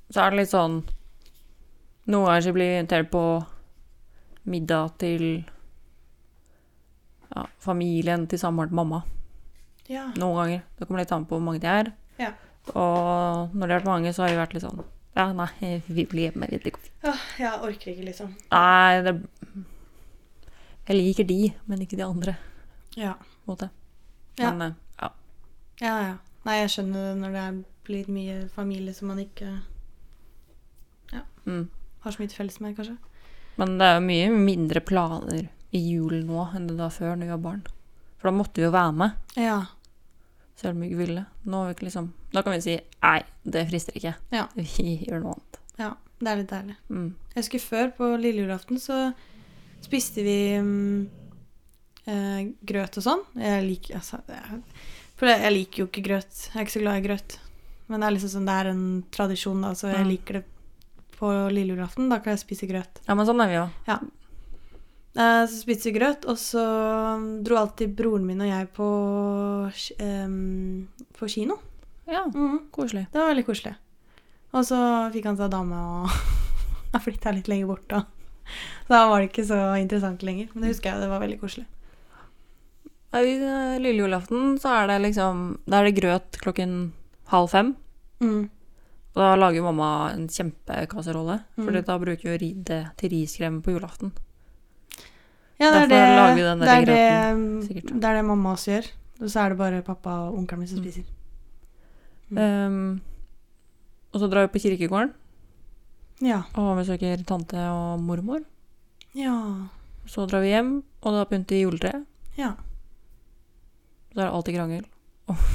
Speaker 1: så er det litt sånn Noen ganger så blir vi invitert på middag til ja, familien til samboeren til mamma.
Speaker 2: Ja.
Speaker 1: Noen ganger. Det kommer litt an på hvor mange de er.
Speaker 2: Ja.
Speaker 1: Og når det har vært mange, så har vi vært litt sånn Ja, nei, vi blir hjemme. Jeg vet ikke.
Speaker 2: Åh, jeg orker ikke, liksom.
Speaker 1: Nei, det Jeg liker de, men ikke de andre.
Speaker 2: Ja.
Speaker 1: på en måte.
Speaker 2: Ja.
Speaker 1: Men, eh, ja.
Speaker 2: Ja, ja. Nei, jeg skjønner det når det er- blir mye familie som man ikke
Speaker 1: Mm.
Speaker 2: har så mye til felles med, kanskje.
Speaker 1: Men det er jo mye mindre planer i julen nå enn det var før når vi var barn. For da måtte vi jo være med,
Speaker 2: Ja.
Speaker 1: selv om vi ikke ville. Nå er vi ikke liksom, da kan vi si nei, det frister ikke.
Speaker 2: Ja.
Speaker 1: (laughs) Vi gjør noe annet.
Speaker 2: Det er litt deilig.
Speaker 1: Mm.
Speaker 2: Jeg husker før, på lille julaften, så spiste vi mm, eh, grøt og sånn. Jeg liker altså, det er- For jeg liker jo ikke grøt. Jeg er ikke så glad i grøt. Men det er liksom sånn, det er en tradisjon, da, så jeg
Speaker 1: Mm.
Speaker 2: liker det på lille julaften. Da kan jeg spise grøt.
Speaker 1: Ja, men sånn er vi jo.
Speaker 2: Eh, Så spiste vi grøt, og så mm, dro alltid broren min og jeg på, ki- em, på kino.
Speaker 1: Ja, koselig.
Speaker 2: Det var veldig koselig. Og så fikk han seg dame og (laughs) har flytta litt lenger bort, da. Så da var det ikke så interessant lenger. Men det husker jeg, det var veldig koselig.
Speaker 1: Ja, i, eh, Lille julaften så er det liksom Da er det grøt klokken halv fem.
Speaker 2: Mm.
Speaker 1: Og da lager jo mamma en kjempekasserolle.
Speaker 2: Mm.
Speaker 1: For da bruker vi å ri det til riskrem på julaften.
Speaker 2: Ja, det
Speaker 1: Derfor
Speaker 2: er det,
Speaker 1: lager vi den
Speaker 2: det,
Speaker 1: der
Speaker 2: er
Speaker 1: grøten,
Speaker 2: det,
Speaker 1: sikkert.
Speaker 2: det er det mamma også gjør. Og så er det bare pappa og onkelen min som spiser. Mm.
Speaker 1: Ehm, og så drar vi på kirkegården
Speaker 2: Ja.
Speaker 1: og besøker tante og mormor.
Speaker 2: Ja.
Speaker 1: Så drar vi hjem, og da pynter vi juletreet.
Speaker 2: Ja.
Speaker 1: Så er det alltid krangel. Og-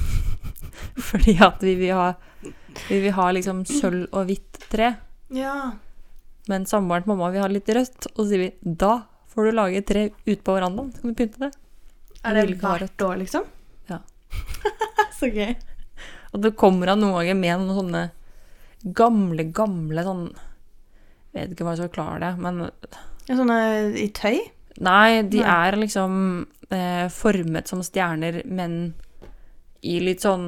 Speaker 1: (laughs) Fordi at vi vil ha, vi vil ha liksom sølv og hvitt tre.
Speaker 2: Ja.
Speaker 1: Men samboeren til mamma vil ha litt rødt, og så sier vi da får du lage et tre ute på verandaen. Så kan du pynte det.
Speaker 2: Er det
Speaker 1: vil ikke ha
Speaker 2: hvert år, liksom?
Speaker 1: Ja.
Speaker 2: (laughs) så gøy.
Speaker 1: Og det kommer han noen ganger med noen sånne gamle, gamle sånn Jeg vet ikke hva jeg skal klare det, men
Speaker 2: Ja, sånne sånn, eh, i tøy?
Speaker 1: Nei, de
Speaker 2: Nei.
Speaker 1: er liksom eh, formet som stjerner, men i litt sånn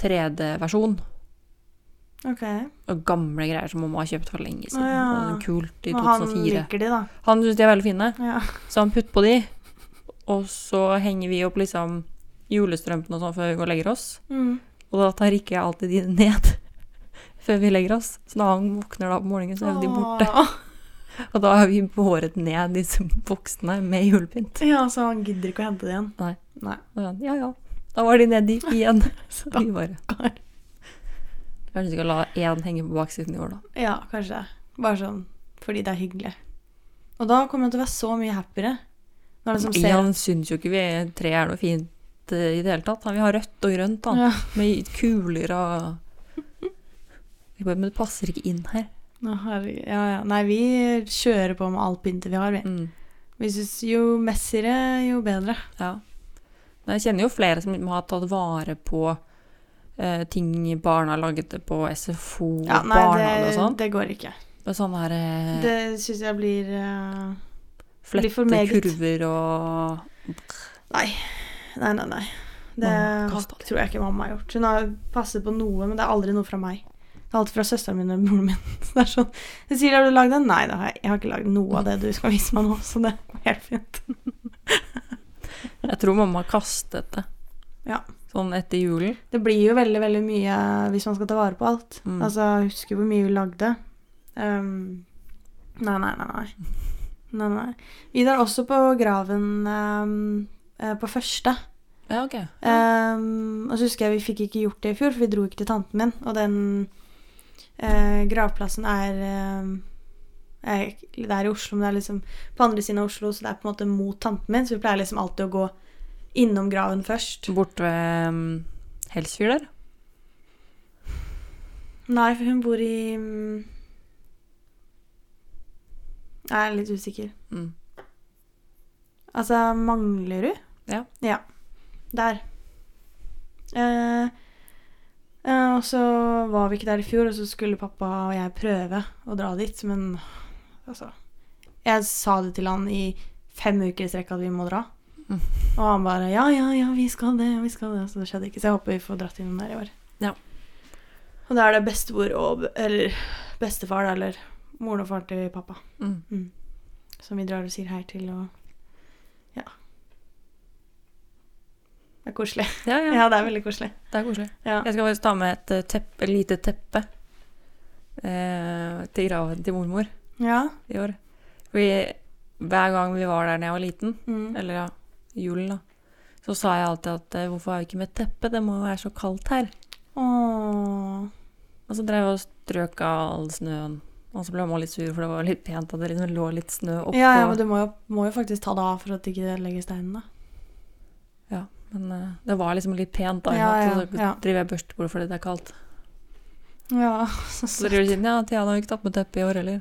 Speaker 1: 3D-versjon.
Speaker 2: Ok.
Speaker 1: Og gamle greier som mamma har kjøpt for lenge siden.
Speaker 2: Å, ja.
Speaker 1: og sånn Kult i
Speaker 2: Og han
Speaker 1: 2004.
Speaker 2: liker de, da.
Speaker 1: Han, syns de er veldig fine,
Speaker 2: Ja.
Speaker 1: så han putter på de. Og så henger vi opp liksom julestrømpene og sånn før vi går og legger oss.
Speaker 2: Mm.
Speaker 1: Og da tar ikke jeg alltid de ned (laughs) før vi legger oss. Så når han våkner da på morgenen, så er jo de borte.
Speaker 2: Åh.
Speaker 1: Og da har vi båret ned disse boksene med julepynt.
Speaker 2: (laughs) Ja, så han gidder ikke å hente det igjen.
Speaker 1: Nei.
Speaker 2: Nei.
Speaker 1: Og han, ja, ja. Da var de nedi
Speaker 2: (laughs)
Speaker 1: igjen. Så vi bare Kanskje vi skal la én henge på baksiden i år, da.
Speaker 2: Ja, kanskje det. Bare sånn fordi det er hyggelig. Og da kommer han til å være så mye happiere. Når han som ser
Speaker 1: Han syns jo ikke vi tre er noe fint eh, i det hele tatt. Han vil ha rødt og grønt, han.
Speaker 2: Ja.
Speaker 1: Med kuler og Vi bare, Men det passer ikke inn her.
Speaker 2: Å, herregud. Ja, ja. Nei, vi kjører på med alt pyntet vi har. Vi,
Speaker 1: Mm.
Speaker 2: vi syns jo messigere, jo bedre.
Speaker 1: Ja. Men jeg kjenner jo flere som har tatt vare på eh, ting barna lagde på SFO
Speaker 2: Ja,
Speaker 1: og
Speaker 2: nei,
Speaker 1: barnehage og
Speaker 2: det,
Speaker 1: sånn.
Speaker 2: det går ikke.
Speaker 1: Med sånne her eh,
Speaker 2: Det syns jeg blir eh, blir for meget.
Speaker 1: flettekurver og
Speaker 2: Nei, nei, nei. Det
Speaker 1: Mamma kastet det.
Speaker 2: tror jeg ikke mamma har gjort. Hun har passet på noe, men det er aldri noe fra meg. Det er alt fra søsteren min og broren min. (laughs) Så det er sånn, jeg sier 'har du lagd den?' Nei, det har jeg, jeg har ikke lagd noe av det du skal vise meg nå. Så det er helt fint.
Speaker 1: Jeg tror mamma kastet det.
Speaker 2: Ja.
Speaker 1: Sånn etter julen.
Speaker 2: Det blir jo veldig veldig mye hvis man skal ta vare på alt.
Speaker 1: Mm.
Speaker 2: Altså, jeg husker hvor mye vi lagde. Ehm, nei, nei, nei, nei. nei, nei. Vi drar også på graven ehm, eh, på første.
Speaker 1: Ja, ok.
Speaker 2: Ehm, og så husker jeg vi fikk ikke gjort det i fjor, for vi dro ikke til tanten min. Og den eh, gravplassen er, ehm, er Det er i Oslo, men det er liksom på andre siden av Oslo, så det er på en måte mot tanten min. Så vi pleier liksom alltid å gå innom graven først.
Speaker 1: Borte ved um, Helsfyr der.
Speaker 2: Nei, for hun bor i mm, Jeg er litt usikker.
Speaker 1: Mm.
Speaker 2: Altså Manglerud?
Speaker 1: Ja.
Speaker 2: Der. Eh, eh, og så var vi ikke der i fjor, og så skulle pappa og jeg prøve å dra dit, men altså Jeg sa det til han i fem uker i strekk at vi må dra.
Speaker 1: Mm.
Speaker 2: Og han bare 'ja, ja, ja, vi skal det', vi skal det. Så det skjedde ikke. Så jeg håper vi får dratt innom der i år.
Speaker 1: Ja.
Speaker 2: Og da er det bestemor og Eller bestefar, da, eller moren og faren til pappa
Speaker 1: Mm.
Speaker 2: som vi drar og sier hei til, og ja. Det er koselig.
Speaker 1: Ja, ja,
Speaker 2: Ja, det er veldig koselig.
Speaker 1: Det er koselig.
Speaker 2: Ja.
Speaker 1: Jeg skal faktisk ta med et eh, tepp- et lite teppe eh, til graven til mormor
Speaker 2: Ja.
Speaker 1: i år. Fordi hver gang vi var der da jeg var liten,
Speaker 2: Mm.
Speaker 1: eller ja, julen da, så sa jeg alltid at eh, hvorfor har vi ikke med teppe, det må jo være så kaldt her.
Speaker 2: Åh.
Speaker 1: Og så drev jeg og strøk av all snøen. Og så ble mamma litt sur, for det var litt pent at det liksom lå litt snø oppå.
Speaker 2: Ja, ja, men du må jo, må jo faktisk ta det av for at det ikke ødelegger steinen, da.
Speaker 1: Men eh, det var liksom litt pent da,
Speaker 2: Ja,
Speaker 1: ikke sant?
Speaker 2: ja,
Speaker 1: så
Speaker 2: ja.
Speaker 1: driver jeg børstebordet fordi det er kaldt.
Speaker 2: Ja, (laughs) så
Speaker 1: Så driver jeg siden, ja, Tiana har ikke tatt med teppe i år heller.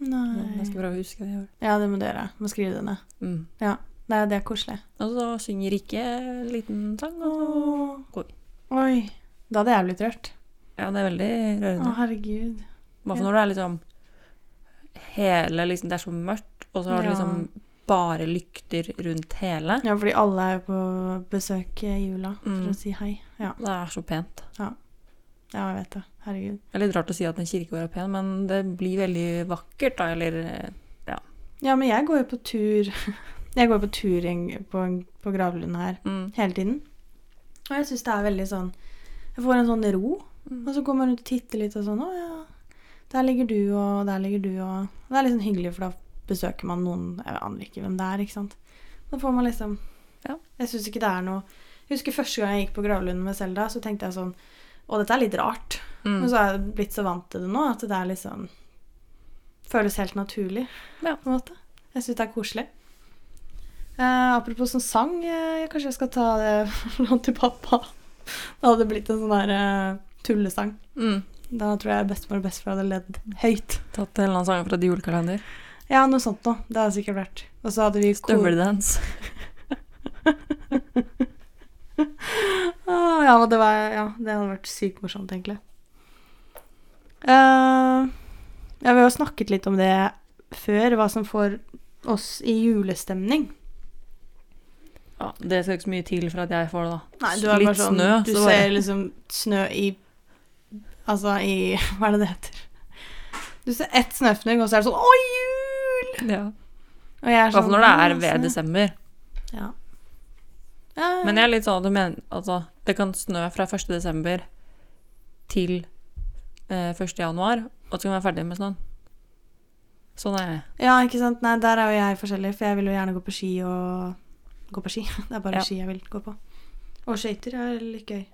Speaker 1: Men
Speaker 2: Nei.
Speaker 1: Jeg skal prøve å huske det i år.
Speaker 2: Ja, det må du gjøre. Må skrive det ned.
Speaker 1: Mm.
Speaker 2: Ja. Nei, det er koselig.
Speaker 1: Og så synger Rikke en liten sang. Og...
Speaker 2: Åh.
Speaker 1: Oi.
Speaker 2: Oi. Da hadde jeg blitt rørt.
Speaker 1: Ja, det er veldig
Speaker 2: Å,
Speaker 1: rørende.
Speaker 2: herregud.
Speaker 1: Hva for når det er liksom hele liksom, Det er så mørkt, og så har det
Speaker 2: Ja.
Speaker 1: liksom bare lykter rundt hele.
Speaker 2: Ja, fordi alle er jo på besøk i jula for
Speaker 1: Mm.
Speaker 2: å si hei. Ja,
Speaker 1: Det er så pent.
Speaker 2: ja jeg vet det. Herregud.
Speaker 1: Det er litt rart å si at en kirkegård er pen, men det blir veldig vakkert, da. Eller eh,
Speaker 2: Ja, men jeg går jo på tur (laughs) Jeg går på tur en- på, på gravlunden her
Speaker 1: mm,
Speaker 2: hele tiden. Og jeg syns det er veldig sånn Jeg får en sånn ro.
Speaker 1: mm.
Speaker 2: Og så går man rundt og titter litt og sånn Å ja, der ligger du, og der ligger du, og Det er liksom hyggelig, for da besøker man noen Jeg aner ikke hvem det er, ikke sant. Da får man liksom
Speaker 1: Ja.
Speaker 2: Jeg syns ikke det er noe Jeg husker første gang jeg gikk på gravlunden med Selda, så tenkte jeg sånn Å, dette er litt rart.
Speaker 1: Mm.
Speaker 2: Men så har jeg blitt så vant til det nå at det er liksom Føles helt naturlig,
Speaker 1: Ja.
Speaker 2: på en måte. Jeg syns det er koselig. Eh, apropos sånn sang, eh, jeg kanskje jeg skal ta det (laughs) til pappa. Det hadde blitt en sånn der eh, tullesang.
Speaker 1: Mm.
Speaker 2: Da tror jeg bestemor og bestefar hadde ledd høyt.
Speaker 1: Tatt en eller annen sang fra de julekalender.
Speaker 2: Ja, noe sånt noe. Det hadde sikkert vært. Og så hadde vi kor...
Speaker 1: Støveldans.
Speaker 2: Ah, ja, men det var, ja, det hadde vært sykt morsomt, egentlig. Eh, ja, vi har jo snakket litt om det før, hva som får oss i julestemning.
Speaker 1: Ja, det skal ikke så mye til for at jeg får det, da.
Speaker 2: Nei, du er
Speaker 1: litt
Speaker 2: bare sånn,
Speaker 1: snø,
Speaker 2: du
Speaker 1: så
Speaker 2: ser
Speaker 1: bare
Speaker 2: liksom snø i Altså i (laughs) Hva er det det heter? Du ser ett snøfnugg, og så er det sånn Å, jul!
Speaker 1: ja.
Speaker 2: Og jeg
Speaker 1: I
Speaker 2: er
Speaker 1: hvert
Speaker 2: sånn
Speaker 1: fall Altså, når det er
Speaker 2: «Å,
Speaker 1: ved
Speaker 2: snø».
Speaker 1: desember.
Speaker 2: Ja. Ja, ja,
Speaker 1: Men jeg er litt sånn at du mener Altså, det kan snø fra 1. desember til eh, 1. januar, og så kan vi være ferdig med snøen. Sånn er jeg.
Speaker 2: Ja, ikke sant. Nei, der er jo jeg forskjellig, for jeg vil jo gjerne gå på ski og Gå på ski. (laughs) Det er bare
Speaker 1: Ja.
Speaker 2: ski jeg vil gå på. Og skøyter er litt gøy.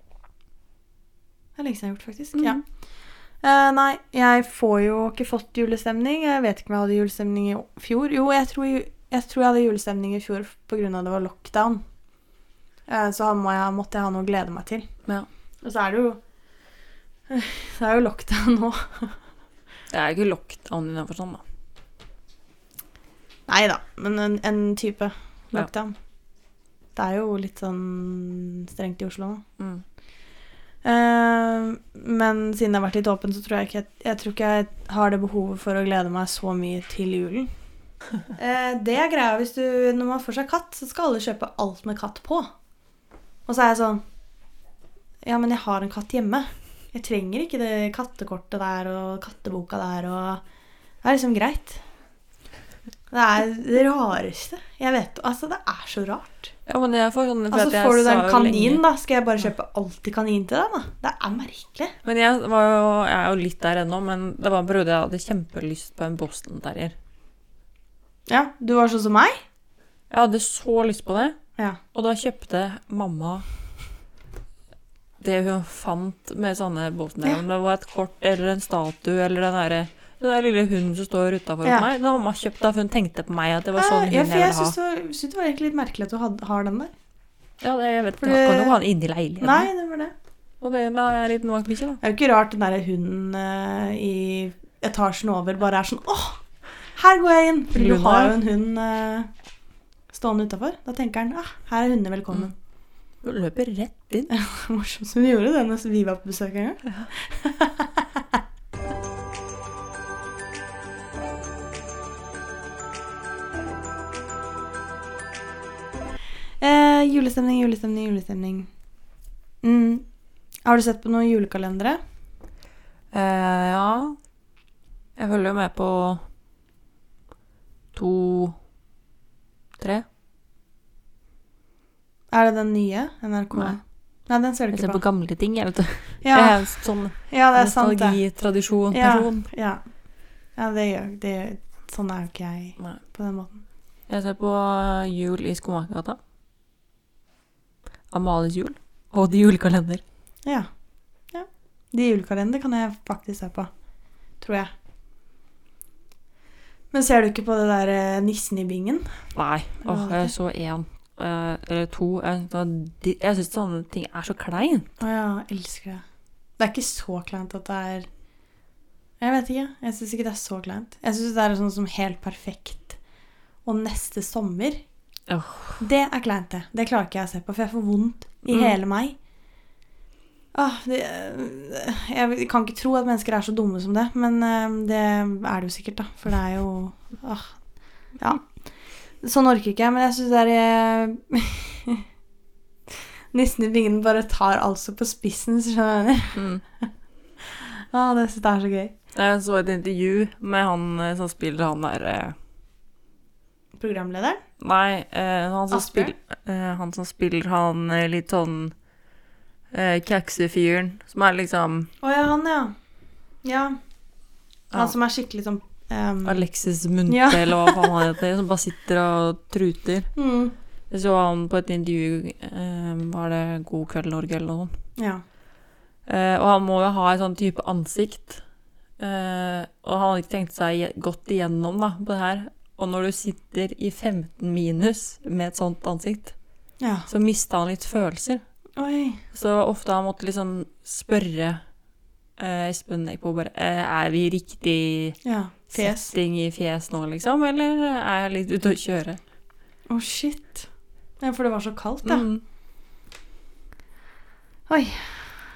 Speaker 2: Det er lenge siden jeg har gjort, faktisk.
Speaker 1: Mhm.
Speaker 2: Ja.
Speaker 1: Mm.
Speaker 2: Eh, nei, jeg får jo ikke fått julestemning. Jeg vet ikke om jeg hadde julestemning i fjor. Jo, jeg tror jeg, jeg, tror jeg hadde julestemning i fjor pga. det var lockdown. Eh, så må jeg, måtte jeg ha noe å glede meg til.
Speaker 1: Ja.
Speaker 2: Og så er det jo Det er jo (sighs) lockdown nå.
Speaker 1: Det er ikke lockdown innenfor sånn, da.
Speaker 2: Nei da, men en, en type
Speaker 1: Ja.
Speaker 2: lockdown. Det er jo litt sånn strengt i Oslo nå.
Speaker 1: Mm.
Speaker 2: Eh, men siden det har vært litt åpent, så tror jeg ikke jeg, jeg, tror ikke jeg har det behovet for å glede meg så mye til julen. (laughs) Eh, det er greia hvis du Når man får seg katt, så skal alle kjøpe alt med katt på. Og så er jeg sånn Ja, men jeg har en katt hjemme. Jeg trenger ikke det kattekortet der og katteboka der og Det er liksom greit. Det er det rareste jeg vet. Altså, det er så rart.
Speaker 1: Ja, men jeg får sånn for at
Speaker 2: Altså,
Speaker 1: jeg
Speaker 2: får du
Speaker 1: sa
Speaker 2: deg en
Speaker 1: jo
Speaker 2: kanin,
Speaker 1: lenge-
Speaker 2: da? Skal jeg bare kjøpe alltid kanin til deg, da? Det er merkelig.
Speaker 1: Men jeg, var jo, jeg er jo litt der ennå, men det var en periode jeg hadde kjempelyst på en Boston Terrier.
Speaker 2: Ja, du var sånn som meg.
Speaker 1: Jeg hadde så lyst på det,
Speaker 2: Ja.
Speaker 1: og da kjøpte mamma det hun fant med sånne Boston Terrier. Om det var et kort eller en statue eller den derre den der lille hunden som står utafor
Speaker 2: Ja.
Speaker 1: meg. Den har mamma kjøpt da, for hun tenkte på meg at det var sånn
Speaker 2: Eh,
Speaker 1: hund
Speaker 2: ja,
Speaker 1: jeg
Speaker 2: for jeg
Speaker 1: ville ha.
Speaker 2: syns det, var- syns det var egentlig litt merkelig at du had, har den der.
Speaker 1: Ja, det, jeg vet
Speaker 2: For
Speaker 1: ikke, jeg kan
Speaker 2: det-
Speaker 1: jo ha den inni leiligheten.
Speaker 2: Nei, det var det.
Speaker 1: Og det da er jeg en liten vaktbikkje, da.
Speaker 2: Det er jo ikke rart den der hunden eh, i etasjen over bare er sånn Åh, her går jeg inn! Fordi du
Speaker 1: Luna.
Speaker 2: har jo en hund eh, stående utafor. Da tenker han ah, her er hundene velkommen.
Speaker 1: Hun løper rett inn.
Speaker 2: Morsomt som hun gjorde det når vi var på besøk en gang. (laughs) eh, julestemning, julestemning, julestemning. Mm. Har du sett på noen julekalendere?
Speaker 1: Eh, ja. Jeg følger jo med på to tre.
Speaker 2: Er det den nye? NRK?
Speaker 1: Nei.
Speaker 2: Nei, den ser du
Speaker 1: Jeg
Speaker 2: ikke
Speaker 1: ser på
Speaker 2: på.
Speaker 1: gamle ting, jeg, vet du. Jeg
Speaker 2: Ja,
Speaker 1: er en sånn
Speaker 2: ja, det er sant, det.
Speaker 1: nostalgi, tradisjon,
Speaker 2: Ja.
Speaker 1: person.
Speaker 2: Ja, ja det gjør det. Gjør. Sånn er jo ikke jeg
Speaker 1: Nei.
Speaker 2: på den måten.
Speaker 1: Jeg ser på eh, Jul i Skomakergata. Amalies jul. Og de julekalender.
Speaker 2: Ja. ja. De julekalender kan jeg faktisk se på. Tror jeg. Men ser du ikke på det der eh, nissen i bingen?
Speaker 1: Nei, åh,
Speaker 2: Hva var
Speaker 1: jeg
Speaker 2: det?
Speaker 1: så én. eh, eller to. Jeg, synes det var- jeg syns sånne ting er så klein.
Speaker 2: Å ja, elsker det. Det er ikke så kleint at det er Jeg vet ikke. Jeg syns ikke det er så kleint. Jeg syns det er sånn som Helt perfekt og Neste sommer. Det er kleint, det. Det klarer ikke jeg å se på, for jeg får vondt i
Speaker 1: Mm.
Speaker 2: hele meg. Åh, det, jeg kan ikke tro at mennesker er så dumme som det, men eh, det er det jo sikkert, da. For det er jo åh, Ja. Sånn orker ikke jeg, men jeg syns det er eh, Nissen i bingen bare tar alt så på spissen, hvis du skjønner hva jeg mener.
Speaker 1: Mm.
Speaker 2: Åh, Ah, det synes jeg er så gøy.
Speaker 1: Jeg så et intervju med han eh, som spiller han der eh,
Speaker 2: Programlederen?
Speaker 1: Nei, eh, han, som
Speaker 2: Asbjørn?
Speaker 1: spiller, eh, han som spiller han eh, litt sånn eh, kjeksefyren, som er liksom
Speaker 2: Å ja, han, ja. Ja.
Speaker 1: Ja.
Speaker 2: Han som er skikkelig sånn eh,
Speaker 1: Alexis Munthe,
Speaker 2: Ja.
Speaker 1: eller hva faen han heter, som bare sitter og truter.
Speaker 2: mm,
Speaker 1: Jeg så han på et intervju, eh, var det God kveld Norge eller noe sånt.
Speaker 2: Ja.
Speaker 1: Eh, og han må jo ha et sånn type ansikt. Eh, og han hadde ikke tenkt seg i- godt igjennom da, på det her. Og når du sitter i 15 minus med et sånt ansikt,
Speaker 2: ja.
Speaker 1: så mista han litt følelser.
Speaker 2: Oi.
Speaker 1: Så ofte har han måttet liksom spørre eh, Espen Eckbo bare eh, Er vi i riktig
Speaker 2: Ja. Fjes.
Speaker 1: setting i fjes nå, liksom? Eller er jeg litt ute å kjøre?
Speaker 2: Å, shit. Ja, for det var så kaldt, ja.
Speaker 1: Mm.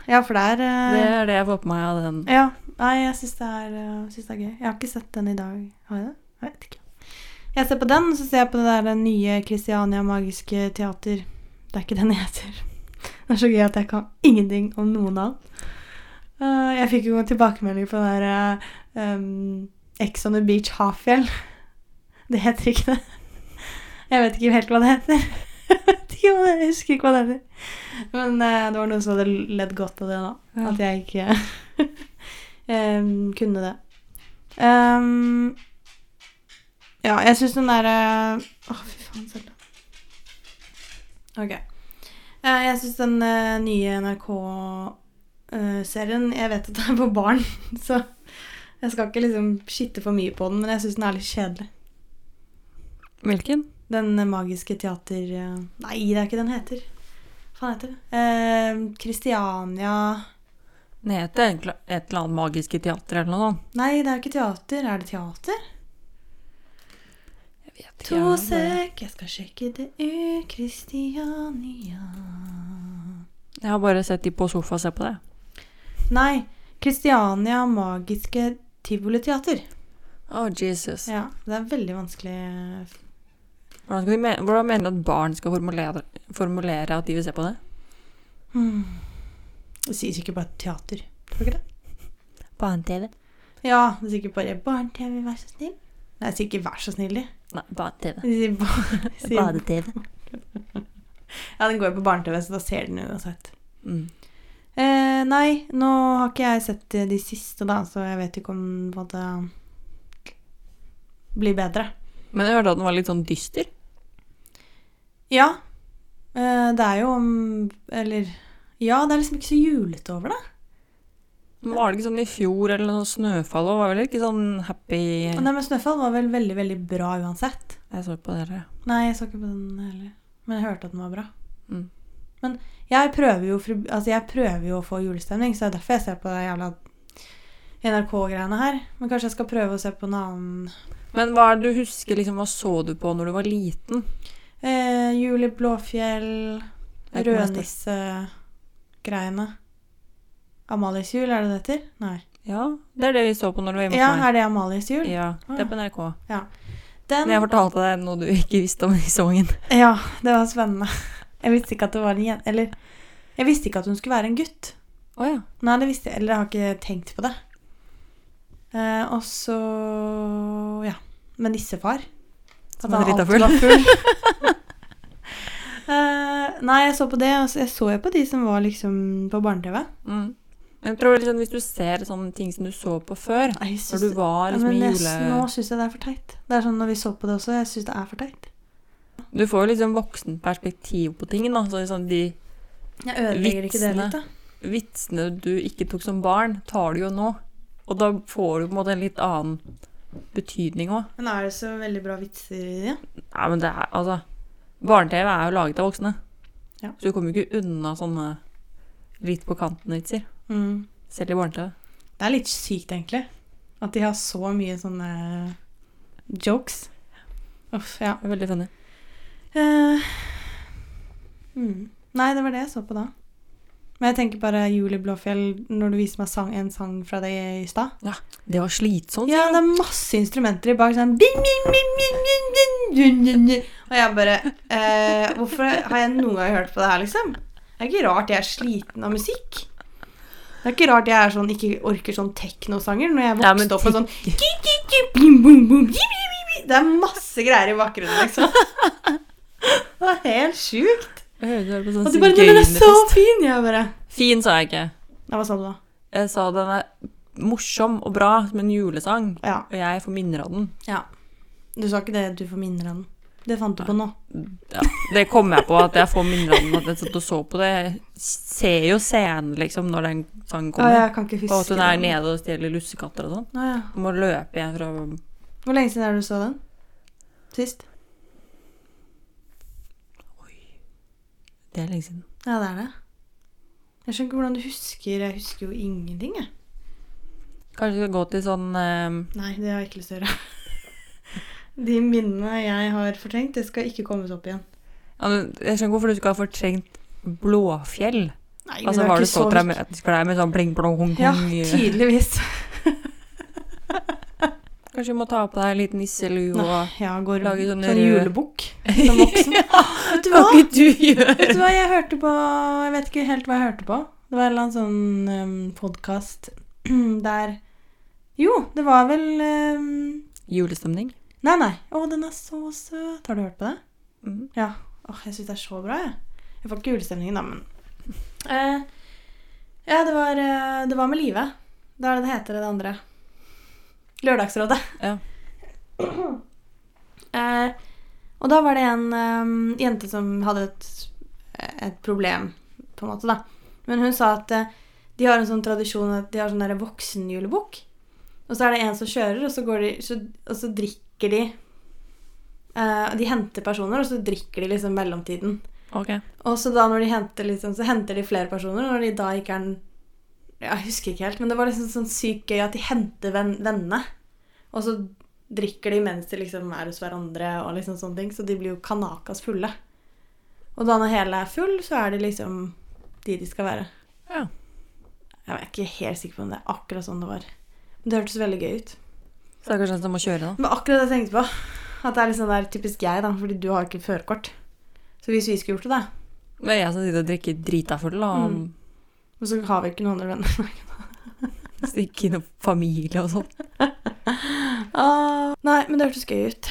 Speaker 2: Ja, for det er
Speaker 1: Det
Speaker 2: eh,
Speaker 1: er det jeg får på meg av den.
Speaker 2: Ja. Nei, jeg syns det, er, eh, syns det er gøy. Jeg har ikke sett den i dag. Har jeg det? Jeg vet ikke. Jeg ser på den, og så ser jeg på det der eh, nye Christiania Magiske Teater. Det er ikke den jeg ser. (laughs) Det er så gøy at jeg kan ingenting om noen annen. Eh, jeg fikk jo en tilbakemelding på det der eh, um, Ex on the Beach Hafjell. (laughs) Det heter ikke det. Jeg vet ikke helt hva det heter. (laughs) Jeg vet ikke hva det Jeg husker ikke hva det heter. Men eh, det var noen som hadde ledd godt av det da.
Speaker 1: Ja.
Speaker 2: At jeg ikke (laughs) em, kunne det. Em, ja, jeg syns den derre Å, fy faen, Selda. OK. Eh, jeg syns den eh, nye NRK-serien eh, Jeg vet at det er på barn, (laughs) så jeg skal ikke liksom skitte for mye på den, men jeg syns den er litt kjedelig.
Speaker 1: Hvilken?
Speaker 2: Den eh, magiske teater... eh, Nei, det er ikke den heter. Hva faen heter det? Eh, Kristiania
Speaker 1: Den heter egentlig et eller annet Magiske teater eller noe sånt.
Speaker 2: Nei, det er ikke teater. Er det teater?
Speaker 1: Jeg vet ikke,
Speaker 2: To
Speaker 1: jeg bare-
Speaker 2: sek, jeg skal sjekke det ut. Kristiania
Speaker 1: Jeg har bare sett de på sofa og se på det.
Speaker 2: Nei, Kristiania Magiske Tivoliteater.
Speaker 1: Å, Jesus.
Speaker 2: Ja, det er veldig vanskelig
Speaker 1: Hvordan, skal de me Hvordan mener du at barn skal formulere, formulere at de vil se på det?
Speaker 2: hmm. Det sies ikke bare teater. Tror du ikke det?
Speaker 1: Barne-TV.
Speaker 2: Ja, det sier ikke bare 'barne-TV, vær så snill'. Nei, jeg sier ikke 'vær så snill', de.
Speaker 1: Nei, barne-TV.
Speaker 2: De sier ba- (laughs) sier
Speaker 1: Bade-TV.
Speaker 2: (laughs) Ja, den går jo på barne-TV, så da ser den uansett.
Speaker 1: Mm.
Speaker 2: Eh, nei, nå har ikke jeg sett eh, de siste, da, så jeg vet ikke om hva det blir bedre.
Speaker 1: Men jeg hørte at den var litt sånn dyster.
Speaker 2: Ja. Eh, det er jo om Eller Ja, det er liksom ikke så julete over det.
Speaker 1: Men Var det ikke sånn i fjor eller noe snøfall og var vel ikke sånn happy
Speaker 2: Og det med Snøfall var vel veldig, veldig bra uansett.
Speaker 1: Jeg så på dere.
Speaker 2: Nei, jeg så ikke på den heller. Men jeg hørte at den var bra.
Speaker 1: Mm.
Speaker 2: Men jeg prøver, jo, fru- altså jeg prøver jo å få julestemning, så det er derfor jeg ser på det jævla NRK-greiene her. Men kanskje jeg skal prøve å se på en annen
Speaker 1: Men hva er det du husker, liksom, hva så du på når du var liten?
Speaker 2: eh, Jul i Blåfjell,
Speaker 1: Jeg kommer etter.
Speaker 2: Rødnisse-greiene. Amalies jul, er det det heter? Nei.
Speaker 1: Ja, det er det vi så på når du var hjemme
Speaker 2: Ja,
Speaker 1: hos meg.
Speaker 2: er det Amalies jul?
Speaker 1: Ja, det er på NRK.
Speaker 2: Den,
Speaker 1: Men jeg fortalte deg noe du ikke visste om i sangen.
Speaker 2: ja, det var spennende. (laughs) Jeg visste ikke at det var en jente Eller jeg visste ikke at hun skulle være en gutt.
Speaker 1: Å ja.
Speaker 2: Nei, det visste jeg. Eller jeg har ikke tenkt på det. Eh, og så Ja. Med nissefar.
Speaker 1: Som
Speaker 2: han
Speaker 1: var drita
Speaker 2: alltid
Speaker 1: full.
Speaker 2: var full. (laughs) Eh, nei, jeg så på det. og så- Jeg så jo på de som var liksom på barne-TV.
Speaker 1: Mm. Men jeg tror liksom, hvis du ser sånne ting som du så på før,
Speaker 2: Nei, jeg
Speaker 1: når
Speaker 2: syns
Speaker 1: du
Speaker 2: det-
Speaker 1: var
Speaker 2: Ja,
Speaker 1: liksom
Speaker 2: men
Speaker 1: i
Speaker 2: jeg-
Speaker 1: jule...
Speaker 2: Nå syns jeg det er for teit. Det er sånn når vi så på det også, jeg syns det er for teit.
Speaker 1: Du får jo liksom voksenperspektiv på ting, da. Så liksom de
Speaker 2: Jeg ødelegger ikke
Speaker 1: Vitsene.
Speaker 2: det litt, da.
Speaker 1: vitsene du ikke tok som barn, tar du jo nå. Og da får du på en måte en litt annen betydning òg.
Speaker 2: Men er det så veldig bra vitser i det?
Speaker 1: Nei, men det er altså Barne-TV er jo laget av voksne.
Speaker 2: Ja.
Speaker 1: Så du kommer jo ikke unna sånne litt på kanten-vitser.
Speaker 2: Mm.
Speaker 1: Selv i barne-TV.
Speaker 2: Det er litt sykt, egentlig. At de har så mye sånne jokes. Uff, ja.
Speaker 1: Det er Veldig funny.
Speaker 2: Eh, Eh, mm. Nei, det var det jeg så på da. Men jeg tenker bare Julie Blåfjell når du viser meg sang, en sang fra deg i stad.
Speaker 1: Det var slitsomt.
Speaker 2: Ja, det er masse instrumenter i bak sånn ding, ding, ding, ding, ding, ding, ding, ding, ding. Og jeg bare eh, Hvorfor har jeg noen gang hørt på det her, liksom? Det er ikke rart jeg er sliten av musikk. Det er ikke rart jeg er sånn, ikke orker sånn teknosanger når jeg
Speaker 1: Ja, men
Speaker 2: vokste opp med (laughs) sånn ki, ki, ki, bim, bom, bom, ki, bi, bi, bi. Det er masse greier i bakgrunnen, liksom. Det var helt sjukt.
Speaker 1: Jeg hørte bare på
Speaker 2: Og
Speaker 1: sånn
Speaker 2: du bare «Nei, men 'Den er så fin!' Jeg bare
Speaker 1: Fin, sa jeg ikke.
Speaker 2: Ja, hva sa du da?
Speaker 1: Jeg sa den er morsom og bra som en julesang,
Speaker 2: Ja.
Speaker 1: og jeg får minner av den.
Speaker 2: Du sa ikke det du får minner av den. Det fant du på nå.
Speaker 1: Ja, det kom jeg på, at jeg får minner av den. At jeg satt og så på det. Jeg ser jo scenen, liksom, når den sangen
Speaker 2: Ja,
Speaker 1: kommer.
Speaker 2: jeg kan ikke huske
Speaker 1: Og at hun er
Speaker 2: den.
Speaker 1: nede og stjeler lussekatter og sånn.
Speaker 2: Å, ja.
Speaker 1: Og må løpe igjen fra
Speaker 2: Hvor lenge siden er det du så den? Sist?
Speaker 1: Det er lenge siden.
Speaker 2: Ja, det er det. Jeg skjønner ikke hvordan du husker Jeg husker jo ingenting, jeg.
Speaker 1: Kanskje vi skal gå til sånn eh,
Speaker 2: Nei, det har jeg ikke lyst til å gjøre. (laughs) De minnene jeg har fortrengt, det skal ikke kommes opp igjen.
Speaker 1: ja, men Jeg skjønner ikke hvorfor du skal ha fortrengt Blåfjell.
Speaker 2: Nei,
Speaker 1: Altså,
Speaker 2: det
Speaker 1: var
Speaker 2: var
Speaker 1: du så
Speaker 2: ikke så viktig.
Speaker 1: traumatisk for deg med sånn bling, blong, hong,
Speaker 2: Ja,
Speaker 1: hong?
Speaker 2: tydeligvis. (laughs)
Speaker 1: Kanskje du må ta på deg en liten nisselue og
Speaker 2: Nei, jeg går
Speaker 1: Lager
Speaker 2: sånn
Speaker 1: sånne røde-
Speaker 2: julebukk som
Speaker 1: (laughs)
Speaker 2: voksen. Vet du
Speaker 1: Kan
Speaker 2: hva?
Speaker 1: ikke du gjøre
Speaker 2: Vet du hva jeg hørte på Jeg vet ikke helt hva jeg hørte på. Det var en eller annen sånn um, podkast (clears throat) der Jo, det var vel um,
Speaker 1: Julestemning?
Speaker 2: Nei, nei. Å, den er så søt. Har du hørt på det?
Speaker 1: Mm.
Speaker 2: Ja. Åh, jeg syns det er så bra, jeg. Jeg får ikke julestemningen, da, men (laughs) eh, Ja, det var, eh, det var med Live. Det er det det heter, det andre. Lørdagsrådet.
Speaker 1: Ja.
Speaker 2: eh, og da var det en eh, jente som hadde et, et problem, på en måte, da. Men hun sa at eh, de har en sånn tradisjon at de har sånn der voksenjulebukk. Og så er det en som kjører, og så, går de, så, og så drikker de Eh, de henter personer, og så drikker de liksom mellomtiden.
Speaker 1: Ok.
Speaker 2: Og så da når de henter liksom, så henter de flere personer, og når de da ikke er den ja, Jeg husker ikke helt, men det var liksom sånn sykt gøy at de henter ven vennene. Og så drikker de mens de liksom er hos hverandre, og liksom sånne ting, så de blir jo kanakas fulle. Og da når hele er full, så er de liksom de de skal være.
Speaker 1: Ja.
Speaker 2: Jeg er ikke helt sikker på om det er akkurat sånn det var. Men det hørtes veldig gøy ut.
Speaker 1: Så det er kanskje den som må kjøre, da.
Speaker 2: Det var akkurat det jeg tenkte på. At det er liksom der typisk jeg, da, fordi du har ikke førerkort. Så hvis vi skulle gjort det, da
Speaker 1: Det er jeg som sitter og drikker drita full, da. og
Speaker 2: Mm. Men så har vi ikke noen andre venner.
Speaker 1: Stikke inn og familie og sånn.
Speaker 2: Ah, nei, men det hørtes gøy ut.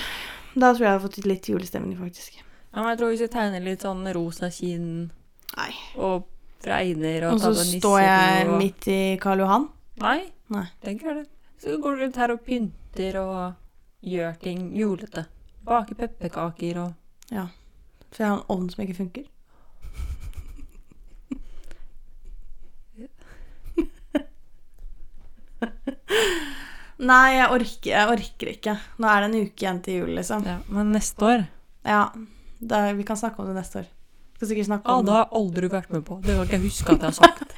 Speaker 2: Da tror jeg jeg har fått ut litt julestemning, faktisk.
Speaker 1: Ja, men jeg tror hvis vi tegner litt sånn rosa kinn
Speaker 2: Nei.
Speaker 1: og fregner og
Speaker 2: Og så
Speaker 1: tar på
Speaker 2: står jeg
Speaker 1: nisselue og...
Speaker 2: midt i Karl Johan.
Speaker 1: Nei.
Speaker 2: Nei.
Speaker 1: Tenker jeg det. Så går du rundt her og pynter og gjør ting julete. Baker pepperkaker og
Speaker 2: For jeg har en ovn som ikke funker. Nei, jeg orker, jeg orker ikke. Nå er det en uke igjen til jul, liksom.
Speaker 1: ja, Men neste år
Speaker 2: Ja, da, vi kan snakke om det neste år. Vi Skal sikkert snakke
Speaker 1: ah,
Speaker 2: om
Speaker 1: Da har aldri du vært med på. Det kan ikke jeg huske at jeg har sagt.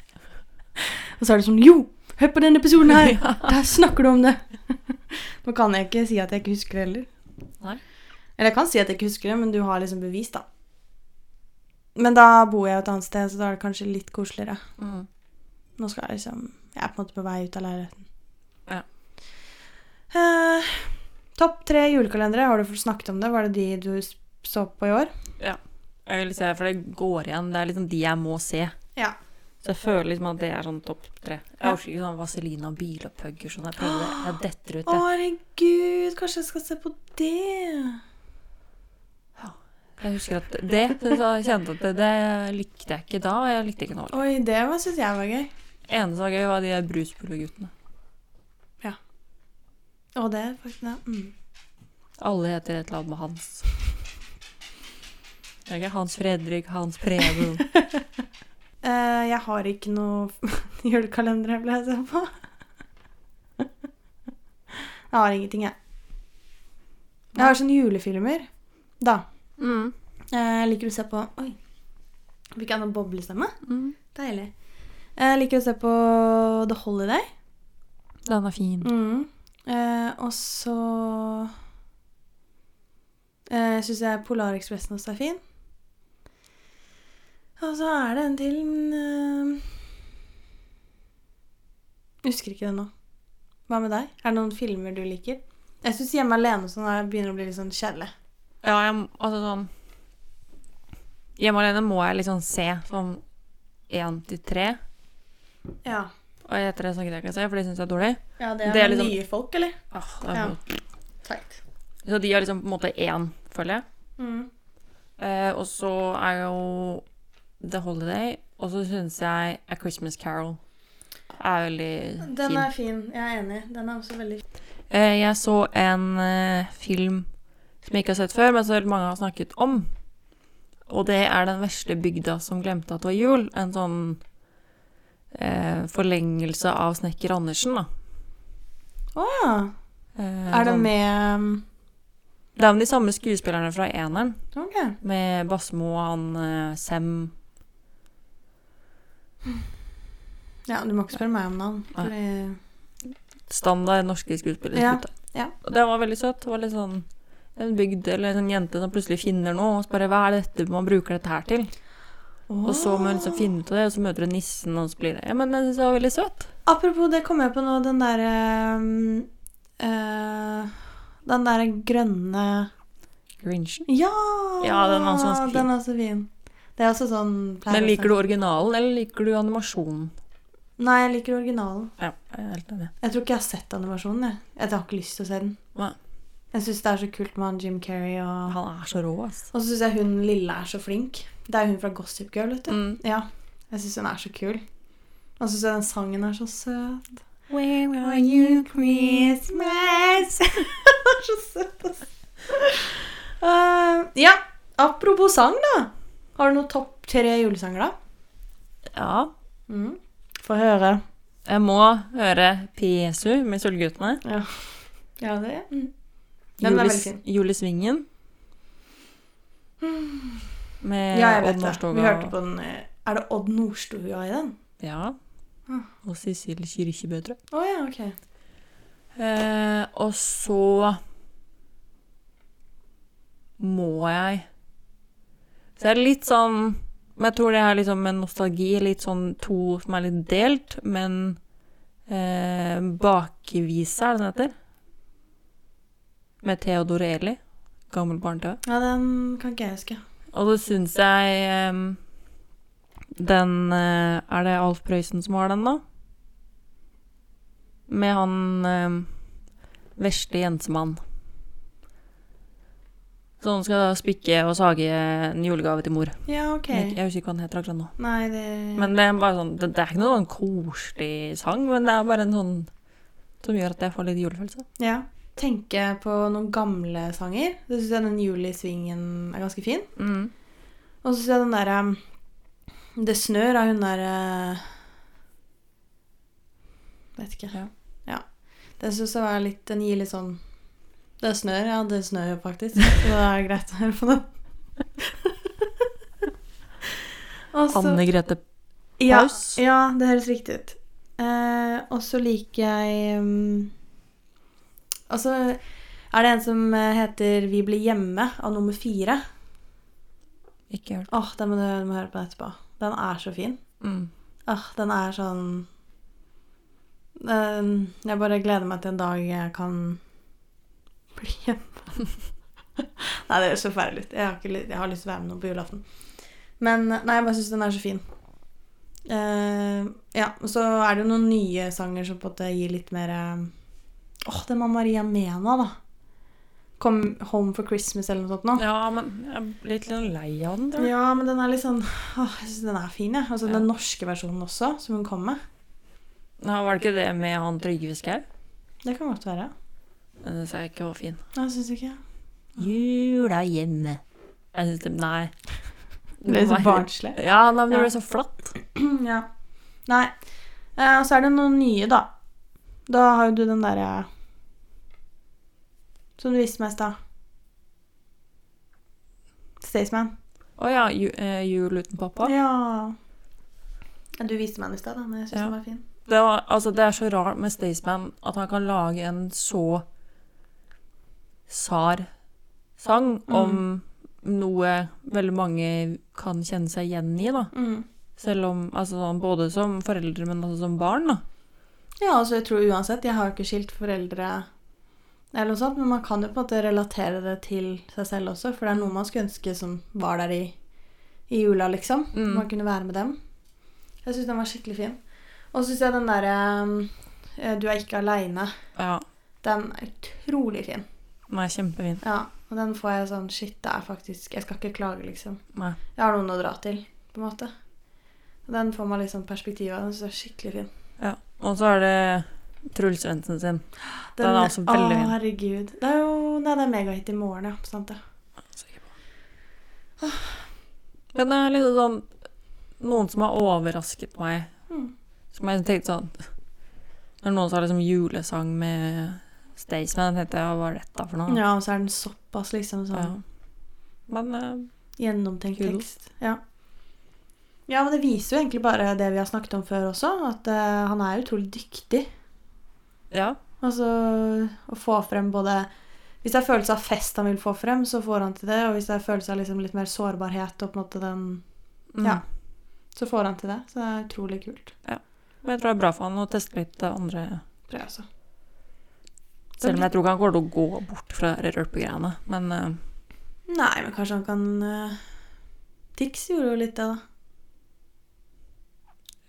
Speaker 2: Og så er det sånn Jo, hør på denne episoden (laughs) her! Der snakker du om det! (laughs) Nå kan jeg ikke si at jeg ikke husker det heller.
Speaker 1: Nei.
Speaker 2: Eller jeg kan si at jeg ikke husker det, men du har liksom bevis, da. Men da bor jeg jo et annet sted, så da er det kanskje litt koseligere.
Speaker 1: Mm.
Speaker 2: Nå skal jeg liksom Jeg er på en måte på vei ut av leiligheten.
Speaker 1: Ja.
Speaker 2: Eh, Topp tre julekalendere. Har du fått snakket om det? Var det de du s- så på i år?
Speaker 1: Jeg vil se, for det går igjen. Det er liksom de jeg må se.
Speaker 2: Ja.
Speaker 1: Så jeg føler liksom at det er sånn topp tre.
Speaker 2: Ja.
Speaker 1: Jeg orker ikke sånn Vaselina og bilopphuggere sånn. Jeg prøver det. Jeg detter ut,
Speaker 2: Å,
Speaker 1: jeg.
Speaker 2: herregud, kanskje jeg skal se på det?
Speaker 1: Jeg husker at det, det så jeg kjente at det, det likte jeg ikke da, og jeg likte ikke nå.
Speaker 2: Oi, det var- syns jeg var gøy.
Speaker 1: Eneste som var gøy, var de der bruspuleguttene.
Speaker 2: Å, det er faktisk det. Mm.
Speaker 1: Alle heter et eller annet med Hans. Det er ikke Hans Fredrik, Hans Preben.
Speaker 2: Eh, jeg har ikke noe (laughs) julekalender jeg ble jeg så på. jeg har ingenting, jeg. Jeg har sånne julefilmer. Da.
Speaker 1: Mm.
Speaker 2: Eh, jeg liker å se på Oi. Fikk jeg noe boblestemme?
Speaker 1: Mm.
Speaker 2: Deilig. Eh, Jeg liker å se på The Holiday.
Speaker 1: Den er fin.
Speaker 2: Mm. Eh, og så Eh, jeg syns jeg Polarekspressen også er fin. Og så er det en til men, eh, Jeg husker ikke den nå. Hva med deg? Er det noen filmer du liker? Jeg syns 'Hjemme alene' og sånn er- begynner å bli litt sånn kjedelig.
Speaker 1: Ja, jeg, altså sånn Hjemme alene må jeg liksom se sånn én til tre.
Speaker 2: Ja.
Speaker 1: Og etter det snakker jeg ikke se, for de syns jeg er dårlig.
Speaker 2: ja det
Speaker 1: er
Speaker 2: er,
Speaker 1: Det er
Speaker 2: med
Speaker 1: liksom-
Speaker 2: nye folk, eller?
Speaker 1: Åh, det er
Speaker 2: Ja.
Speaker 1: sånn.
Speaker 2: Teit.
Speaker 1: Så de er liksom på en måte én, føler jeg.
Speaker 2: Mm.
Speaker 1: Eh, og så er jo The Holiday, og så syns jeg A Christmas Carol er veldig
Speaker 2: Den
Speaker 1: fin.
Speaker 2: er fin. Jeg er enig. Den er også veldig
Speaker 1: Eh, jeg så en eh, film som jeg ikke har sett før, men som veldig mange har snakket om. Og det er Den vesle bygda som glemte at det var jul. En sånn eh, forlengelse av Snekker Andersen, da.
Speaker 2: Å ja.
Speaker 1: Eh,
Speaker 2: Ah, Er det
Speaker 1: sånn-
Speaker 2: med um,
Speaker 1: Det er med de samme skuespillerne fra eneren,
Speaker 2: OK.
Speaker 1: med Basmo og han eh, Sem.
Speaker 2: Ja, du må ikke spørre meg om navn.
Speaker 1: Nei.
Speaker 2: fordi-
Speaker 1: Standard norske skuespillere.
Speaker 2: Ja,
Speaker 1: gutter.
Speaker 2: ja.
Speaker 1: Og det var veldig søtt. Det var litt sånn en bygd eller en sånn jente som plutselig finner noe, og så bare Hva er dette man bruker dette her til? Og så må hun liksom finne ut av det, og så møter hun nissen, og så blir det Ja, men jeg synes det var veldig søtt.
Speaker 2: Apropos det kom jeg på nå, den derre Den derre grønne
Speaker 1: Grinchen.
Speaker 2: Ja!
Speaker 1: Ja, den var også ganske fin.
Speaker 2: Den er også fin. Det er også sånn
Speaker 1: Men liker du originalen, eller liker du animasjonen?
Speaker 2: Nei, jeg liker originalen.
Speaker 1: Ja, jeg er helt enig.
Speaker 2: Jeg tror ikke jeg har sett animasjonen. Jeg, jeg har ikke lyst til å se den.
Speaker 1: Nei.
Speaker 2: Jeg syns det er så kult med han Jim Carrey, og,
Speaker 1: Han er så rå, ass.
Speaker 2: og så syns jeg hun lille er så flink. Det er jo hun fra Gossip Girl, vet du.
Speaker 1: Mm.
Speaker 2: Ja. Jeg syns hun er så kul. Og så syns jeg den sangen er så søt.
Speaker 1: Where are you,
Speaker 2: Christmas Så søt, ass. Eh, ja, apropos sang, da. Har du noen topp tre julesanger, da?
Speaker 1: Ja.
Speaker 2: Mm. Få høre.
Speaker 1: Jeg må høre PSU med Sølvguttene.
Speaker 2: Ja, det mm. Den er veldig
Speaker 1: Julis,
Speaker 2: fin. (sighs)
Speaker 1: Julisvingen. Med
Speaker 2: Ja, jeg vet
Speaker 1: Odd
Speaker 2: det.
Speaker 1: Nordstoga.
Speaker 2: Vi hørte på den eh, Er det Odd Nordstoga i den?
Speaker 1: Ja.
Speaker 2: Ah.
Speaker 1: Og Cecilie Kyrkjebø, tror jeg.
Speaker 2: Å ja, ok.
Speaker 1: Eh, og så må jeg Så er det litt sånn Men jeg tror det er liksom en nostalgi, litt sånn to som er litt delt, men eh, Bakevise, er det den heter? Med Theodor Eli. Gammel barne-TV.
Speaker 2: Ja, den kan ikke jeg huske.
Speaker 1: Og så syns jeg ehm, den eh, Er det Alf Prøysen som har den, da? Med han um, vesle jensemann. Så han skal spikke og sage en julegave til mor.
Speaker 2: Ja, ok.
Speaker 1: Jeg, jeg husker ikke hva den heter akkurat nå.
Speaker 2: Nei, det
Speaker 1: Men det er, bare sånn, det, det er ikke noe sånn koselig sang, men det er bare en sånn som gjør at jeg får litt julefølelse.
Speaker 2: Ja. Tenke på noen gamle sanger. Så syns jeg den Julisvingen er ganske fin.
Speaker 1: Mm.
Speaker 2: Og så syns jeg den derre um, Det snør av hun derre Vet ikke.
Speaker 1: Ja.
Speaker 2: Ja. Det syns jeg var litt Den gir litt sånn Det snør, ja, det snør jo
Speaker 1: (laughs)
Speaker 2: faktisk. Så da er det greit å høre på den. Og så-
Speaker 1: Anne Grete
Speaker 2: ja,
Speaker 1: Paus.
Speaker 2: ja, det høres riktig ut. Eh, og så liker jeg um, Og så er det en som eh, heter 'Vi blir hjemme' av nummer fire.
Speaker 1: Ikke hørt.
Speaker 2: Åh, den må du den må jeg høre på etterpå. Den er så fin.
Speaker 1: Mm.
Speaker 2: Åh, den er sånn den, Jeg bare gleder meg til en dag jeg kan (laughs) bli hjemme. (laughs) nei, det høres så fælt ut. Jeg har, ikke, ly- jeg har lyst til å være med noen på julaften. Men nei, jeg bare syns den er så fin. Eh, ja, og så er det jo noen nye sanger som på en måte gir litt mer eh, Åh, det med Maria Mena, da. Kom Home for Christmas eller noe sånt nå.
Speaker 1: Ja, men jeg blir litt lei av den. tror jeg.
Speaker 2: Ja, men den er litt sånn åh, jeg synes den er fin, jeg. Altså
Speaker 1: Ja.
Speaker 2: den norske versjonen også, som hun kom med.
Speaker 1: Ja, var det ikke det med han Trygve Skau?
Speaker 2: Det kan godt være.
Speaker 1: Men Den sa jeg ikke var fin.
Speaker 2: Nei, syns du ikke?
Speaker 1: Jula hjemme. Jeg synes det Nei.
Speaker 2: Det er så
Speaker 1: Nei.
Speaker 2: barnslig. (clears throat)
Speaker 1: Ja, nei, men det
Speaker 2: Ja.
Speaker 1: ble så flatt.
Speaker 2: ja. Nei. Eh, Og så er det noen nye, da. Da har jo du den derre Som du viste meg i stad. Staysman.
Speaker 1: Å ja, ju, eh, Jul uten pappa.
Speaker 2: Ja. Ja, Du viste meg den i stad, da, men jeg syns
Speaker 1: Ja.
Speaker 2: den var fin.
Speaker 1: Det, var, altså, det er så rart med Staysman at han kan lage en så sar sang
Speaker 2: Mm.
Speaker 1: om noe veldig mange kan kjenne seg igjen i, da.
Speaker 2: Mm.
Speaker 1: Selv om, altså sånn, Både som foreldre, men også som barn. da.
Speaker 2: Ja, altså jeg tror uansett, jeg har jo ikke skilt foreldre eller noe sånt, men man kan jo på en måte relatere det til seg selv også, for det er noe man skulle ønske som var der i, i jula, liksom.
Speaker 1: Mm.
Speaker 2: Man kunne være med dem. Jeg syns den var skikkelig fin. Og så syns jeg den derre eh, Du er ikke aleine,
Speaker 1: Ja,
Speaker 2: den er utrolig fin.
Speaker 1: Nei, kjempefin.
Speaker 2: Ja, og den får jeg sånn Shit, det er faktisk Jeg skal ikke klage, liksom.
Speaker 1: Nei.
Speaker 2: Jeg har noen å dra til, på en måte. Og den får man liksom perspektiv av. Den synes jeg er skikkelig fin.
Speaker 1: Ja. Og så er det Truls Svendsen sin. Den er også veldig fin.
Speaker 2: Å, herregud. Det er jo Nei, det er megahit i morgen, ja. Sant det.
Speaker 1: Men det er liksom sånn Noen som har overrasket meg.
Speaker 2: Mm.
Speaker 1: Som jeg tenkte sånn Det er noen som har liksom julesang med Staysman. Jeg tenkte, ja, hva er dette for noe?
Speaker 2: Ja, og så er den såpass liksom sånn
Speaker 1: Men eh,
Speaker 2: gjennomtenkt
Speaker 1: Kudos.
Speaker 2: tekst. Ja. ja, men det viser jo egentlig bare det vi har snakket om før også, at eh, han er utrolig dyktig.
Speaker 1: ja.
Speaker 2: Altså å få frem både Hvis det er følelse av fest han vil få frem, så får han til det. Og hvis det er følelse av liksom litt mer sårbarhet, og på en måte den,
Speaker 1: Mm.
Speaker 2: Ja. så får han til det. Så det er utrolig kult.
Speaker 1: Men jeg tror det er bra for han å teste litt det andre.
Speaker 2: Tror jeg også.
Speaker 1: Selv om jeg tror ikke han kommer til å gå bort fra de rølpegreiene. Men eh,
Speaker 2: Nei, men kanskje han kan eh, Tix gjorde jo litt det, da.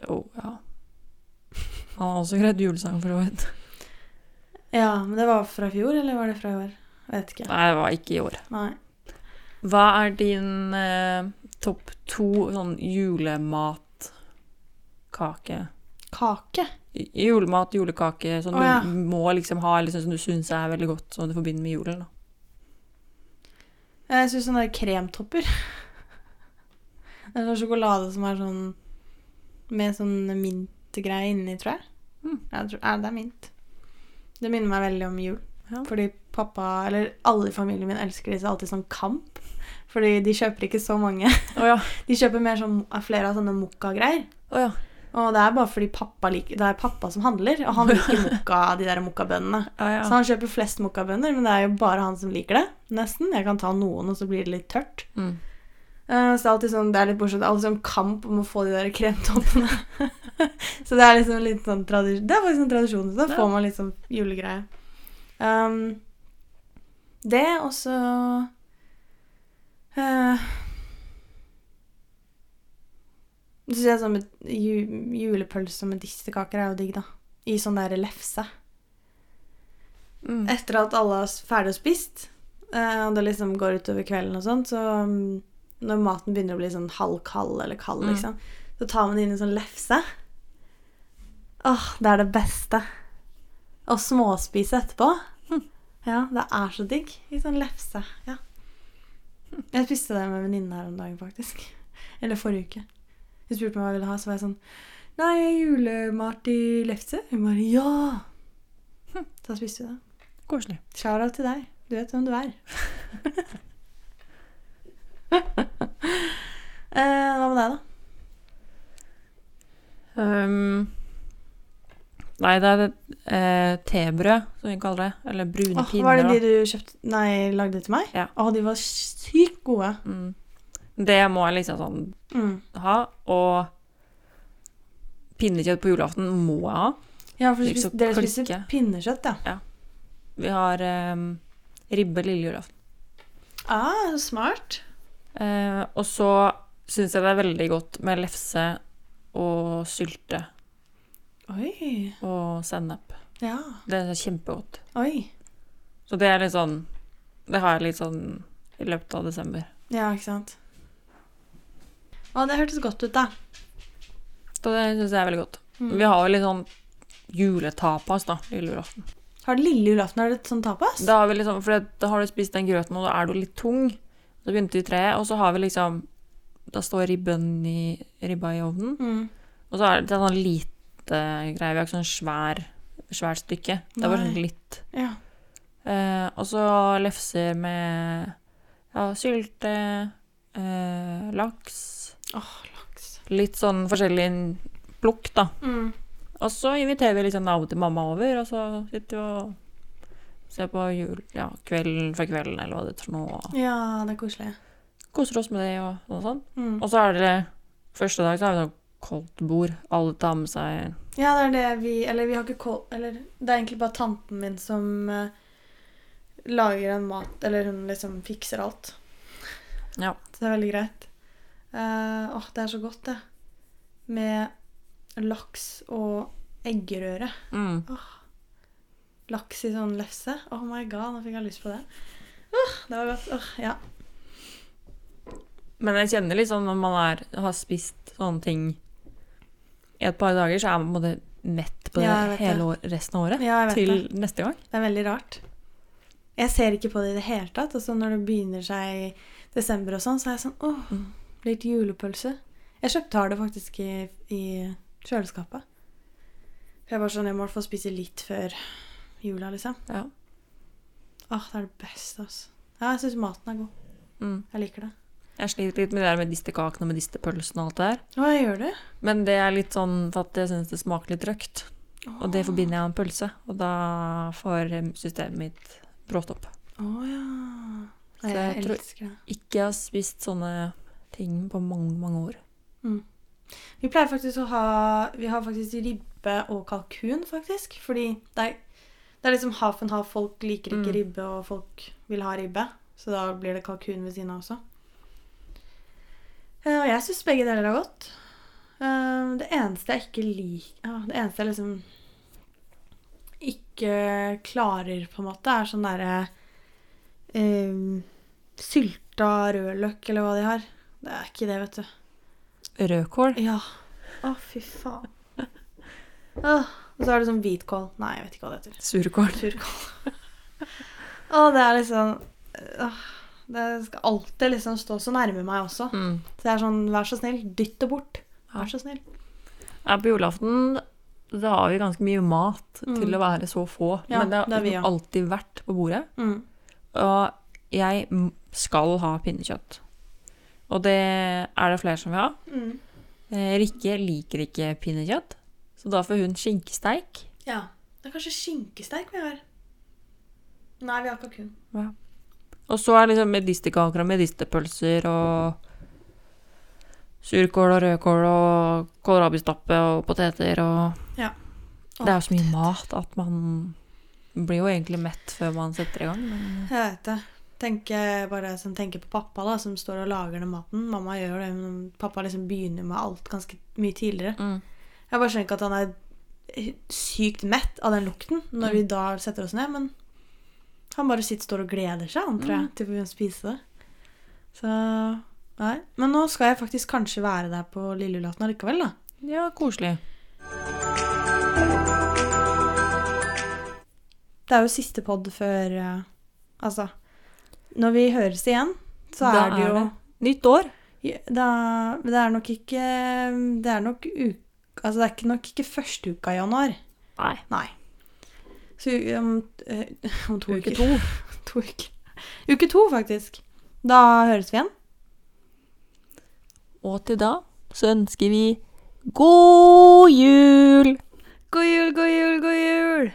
Speaker 1: jo, ja. Han har også greid julesang, for så vidt.
Speaker 2: Ja, men det var fra i fjor, eller var det fra i år? Jeg vet ikke.
Speaker 1: Nei, det var ikke i år.
Speaker 2: Nei.
Speaker 1: Hva er din eh, topp to sånn julematkake?
Speaker 2: Kake.
Speaker 1: J- Julemat, julekake, sånn
Speaker 2: Å, ja.
Speaker 1: du må liksom ha, eller sånn som du syns er veldig godt, som du forbinder med julen. Da.
Speaker 2: Jeg syns sånne der kremtopper. (laughs) Det er sånn sjokolade som er sånn Med sånn mintgreie inni, tror jeg.
Speaker 1: Mm.
Speaker 2: jeg tror, ja, det er mint. Det minner meg veldig om jul.
Speaker 1: Ja.
Speaker 2: Fordi pappa, eller alle i familien min, elsker disse alltid sånn kamp. Fordi de kjøper ikke så mange.
Speaker 1: Å ja.
Speaker 2: (laughs) De kjøper mer sånn, flere av sånne mokka-greier.
Speaker 1: Å ja.
Speaker 2: Og det er bare fordi pappa liker, det er pappa som handler,
Speaker 1: (laughs)
Speaker 2: og han liker mokka, de der mokkabønnene.
Speaker 1: Ja, ja.
Speaker 2: Så han kjøper flest mokkabønner, men det er jo bare han som liker det. Nesten. Jeg kan ta noen, og så blir det litt tørt.
Speaker 1: Mm.
Speaker 2: Eh, så det er alltid sånn, det er litt morsomt. Det er alltid sånn kamp om å få de der kremtoppene. (laughs) så det er liksom litt sånn tradisjon. Det er faktisk en tradisjon, så da
Speaker 1: Ja.
Speaker 2: får man litt sånn julegreie. Um, det, og så uh, Så syns jeg sånn med ju, julepølse med distekaker er jo digg, da. I sånn der lefse.
Speaker 1: Mm.
Speaker 2: Etter at alle er ferdig og spist, eh, og det liksom går utover kvelden og sånn, så mm, når maten begynner å bli sånn halvkald eller kald,
Speaker 1: Mm.
Speaker 2: liksom, så tar man inn en sånn lefse. Åh, det er det beste. Å småspise etterpå.
Speaker 1: Hm.
Speaker 2: Ja, det er så digg. Litt sånn lefse. Ja. Jeg spiste det med en venninne her om dagen, faktisk. Eller forrige uke. Hun spurte meg hva jeg ville ha, så var jeg sånn Nei, julemat i lefse? Hun bare ja!
Speaker 1: Hm.
Speaker 2: Da spiste vi det.
Speaker 1: Eh, Koselig.
Speaker 2: Shout-out til deg. Du vet hvem du
Speaker 1: (laughs)
Speaker 2: er. eh, hva med deg, da?
Speaker 1: Um, nei, det er eh, tebrød, som vi kaller det. Eller brune
Speaker 2: Åh, var
Speaker 1: pinner.
Speaker 2: det
Speaker 1: da.
Speaker 2: de du kjøpte Nei, lagde til meg?
Speaker 1: Ja.
Speaker 2: Åh, de var sykt gode.
Speaker 1: Mm. det må jeg liksom sånn
Speaker 2: Mm.
Speaker 1: ha. Og pinnekjøtt på julaften må jeg ha.
Speaker 2: Ja, for
Speaker 1: Litt
Speaker 2: spis,
Speaker 1: så
Speaker 2: dere spiser
Speaker 1: klikke.
Speaker 2: pinnekjøtt, ja.
Speaker 1: Vi har em, ribbe lille julaften.
Speaker 2: Ah, smart.
Speaker 1: Eh, og så syns jeg det er veldig godt med lefse og sylte
Speaker 2: Oi.
Speaker 1: og sennep.
Speaker 2: Ja.
Speaker 1: Det er kjempegodt.
Speaker 2: Oi.
Speaker 1: Så det er litt sånn Det har jeg litt sånn i løpet av desember.
Speaker 2: Ja, ikke sant. Å, det hørtes godt ut, da.
Speaker 1: Så det syns jeg er veldig godt.
Speaker 2: Mm.
Speaker 1: Vi har jo litt sånn juletapas da, lille julaften.
Speaker 2: Har du lille julaften? Har du et sånt tapas?
Speaker 1: Da har vi liksom, for det- da har du spist den grøten, og da er du litt tung. Så begynte vi tre, og så har vi liksom Da står ribben i, ribba i ovnen.
Speaker 2: Mm.
Speaker 1: Og så er det en sånn lite greie. Vi har ikke sånn svær, svært stykke. Det er bare sånn
Speaker 2: Nei.
Speaker 1: litt.
Speaker 2: Ja.
Speaker 1: Eh, og så lefser med ja, sylte, eh, laks
Speaker 2: Åh, laks.
Speaker 1: Litt sånn forskjellig plukk, da.
Speaker 2: Mm.
Speaker 1: sånn Og så inviterer vi liksom nabo til mamma over, og så sitter vi og Se på jul, ja, Kvelden for kvelden, eller hva det heter for noe. og
Speaker 2: Ja, det er koselig.
Speaker 1: Koser oss med det og sånn og sånn.
Speaker 2: Mm.
Speaker 1: Og så er det første dag, så er det sånn koldt bord. Alle tar med seg
Speaker 2: Ja, det er det vi Eller vi har ikke kål... Eller det er egentlig bare tanten min som eh, lager en mat Eller hun liksom fikser alt.
Speaker 1: Ja.
Speaker 2: Så det er veldig greit. Eh, åh, det er så godt, det. Med laks og eggerøre.
Speaker 1: mm.
Speaker 2: Laks i sånn lefse. Oh my god, nå fikk jeg lyst på det. Åh, det var godt. Åh, ja.
Speaker 1: Men jeg kjenner liksom når man er, har spist sånne ting i et par dager, så er man på en måte mett på det
Speaker 2: Ja, jeg vet det.
Speaker 1: hele år, resten av året.
Speaker 2: ja, jeg vet
Speaker 1: Til
Speaker 2: det.
Speaker 1: neste gang.
Speaker 2: Det er veldig rart. Jeg ser ikke på det i det hele tatt. Og så når det begynner seg i desember og sånn, så er jeg sånn åh,
Speaker 1: Mm.
Speaker 2: litt julepølse. Jeg kjøpte har det faktisk i, i kjøleskapet. For jeg var sånn, jeg må i hvert fall spise litt før jula, liksom.
Speaker 1: Ja.
Speaker 2: Åh, det er det beste, altså. Ja, jeg syns maten er god.
Speaker 1: Mm.
Speaker 2: Jeg liker det.
Speaker 1: Jeg sliter litt med det der med distekakene og med distepølsene og alt det der.
Speaker 2: Å, jeg gjør det.
Speaker 1: Men det er litt sånn for at jeg syns det smaker litt røkt. Og det forbinder jeg med en pølse. Og da får eh, systemet mitt bråstopp.
Speaker 2: Å ja.
Speaker 1: Så
Speaker 2: Nei, jeg
Speaker 1: jeg tror-
Speaker 2: elsker det.
Speaker 1: Ikke har spist sånne ting på mange, mange år.
Speaker 2: Vi pleier faktisk å ha Vi har faktisk ribbe og kalkun, faktisk. Fordi det er, det er liksom half and half. Folk liker ikke
Speaker 1: Mm.
Speaker 2: ribbe, og folk vil ha ribbe. Så da blir det kalkun ved siden av også. Eh, Og jeg syns begge deler er godt. Eh, Det eneste jeg ikke liker ja, Det eneste jeg liksom ikke klarer, på en måte, er sånn derre eh, Sylta rødløk, eller hva de har. Det er ikke det, vet du.
Speaker 1: Rødkål?
Speaker 2: Ja. Å, fy faen. Åh, og så er det sånn hvitkål. Nei, jeg vet ikke hva det heter.
Speaker 1: Surkål?
Speaker 2: Surkål. Å, det er liksom åh, Det skal alltid liksom stå så nærme meg også.
Speaker 1: Mm.
Speaker 2: Så jeg er sånn, vær så snill, dytt det bort.
Speaker 1: Ja.
Speaker 2: Vær så snill.
Speaker 1: Ja, på julaften da har vi ganske mye mat
Speaker 2: Mm.
Speaker 1: til å være så få.
Speaker 2: Ja,
Speaker 1: men det har
Speaker 2: det er vi,
Speaker 1: liksom
Speaker 2: ja.
Speaker 1: alltid vært på bordet.
Speaker 2: Mm.
Speaker 1: Og jeg m- skal ha pinnekjøtt. Og det er det flere som vil ha.
Speaker 2: Mm.
Speaker 1: Eh, Rikke liker ikke pinnekjøtt, så da får hun skinkesteik.
Speaker 2: Ja. Det er kanskje skinkesteik vi har. Nei, vi har kalkun.
Speaker 1: Og så er det liksom medisterkaker og medisterpølser og surkål og rødkål og kålrabistappe og poteter og Det er jo så mye mat at man blir jo egentlig mett før man setter i gang. Men
Speaker 2: Jeg vet det. Tenker bare som tenker på pappa, da, som står og lager den maten. Mamma gjør det, men pappa liksom begynner med alt ganske mye tidligere.
Speaker 1: mm.
Speaker 2: Jeg bare skjønner ikke at han er sykt mett av den lukten når vi da setter oss ned, men han bare sitter står og gleder seg, han, tror jeg, til vi kan spise det. Så Nei. Men nå skal jeg faktisk kanskje være der på lille julaften allikevel, da.
Speaker 1: Ja, koselig.
Speaker 2: Det er jo siste pod før eh, Altså Når vi høres igjen, så
Speaker 1: Da
Speaker 2: er det jo
Speaker 1: Nytt år.
Speaker 2: Ja, Da, men det er nok ikke Det er nok uke... Altså, det er ikke nok ikke første uka i januar.
Speaker 1: Nei.
Speaker 2: Nei. Så om, eh, om to
Speaker 1: Uke
Speaker 2: uker.
Speaker 1: to.
Speaker 2: (laughs) To uker. Uke to, faktisk. Da høres vi igjen.
Speaker 1: Og til da så ønsker vi god jul!
Speaker 2: God jul, god jul, god jul!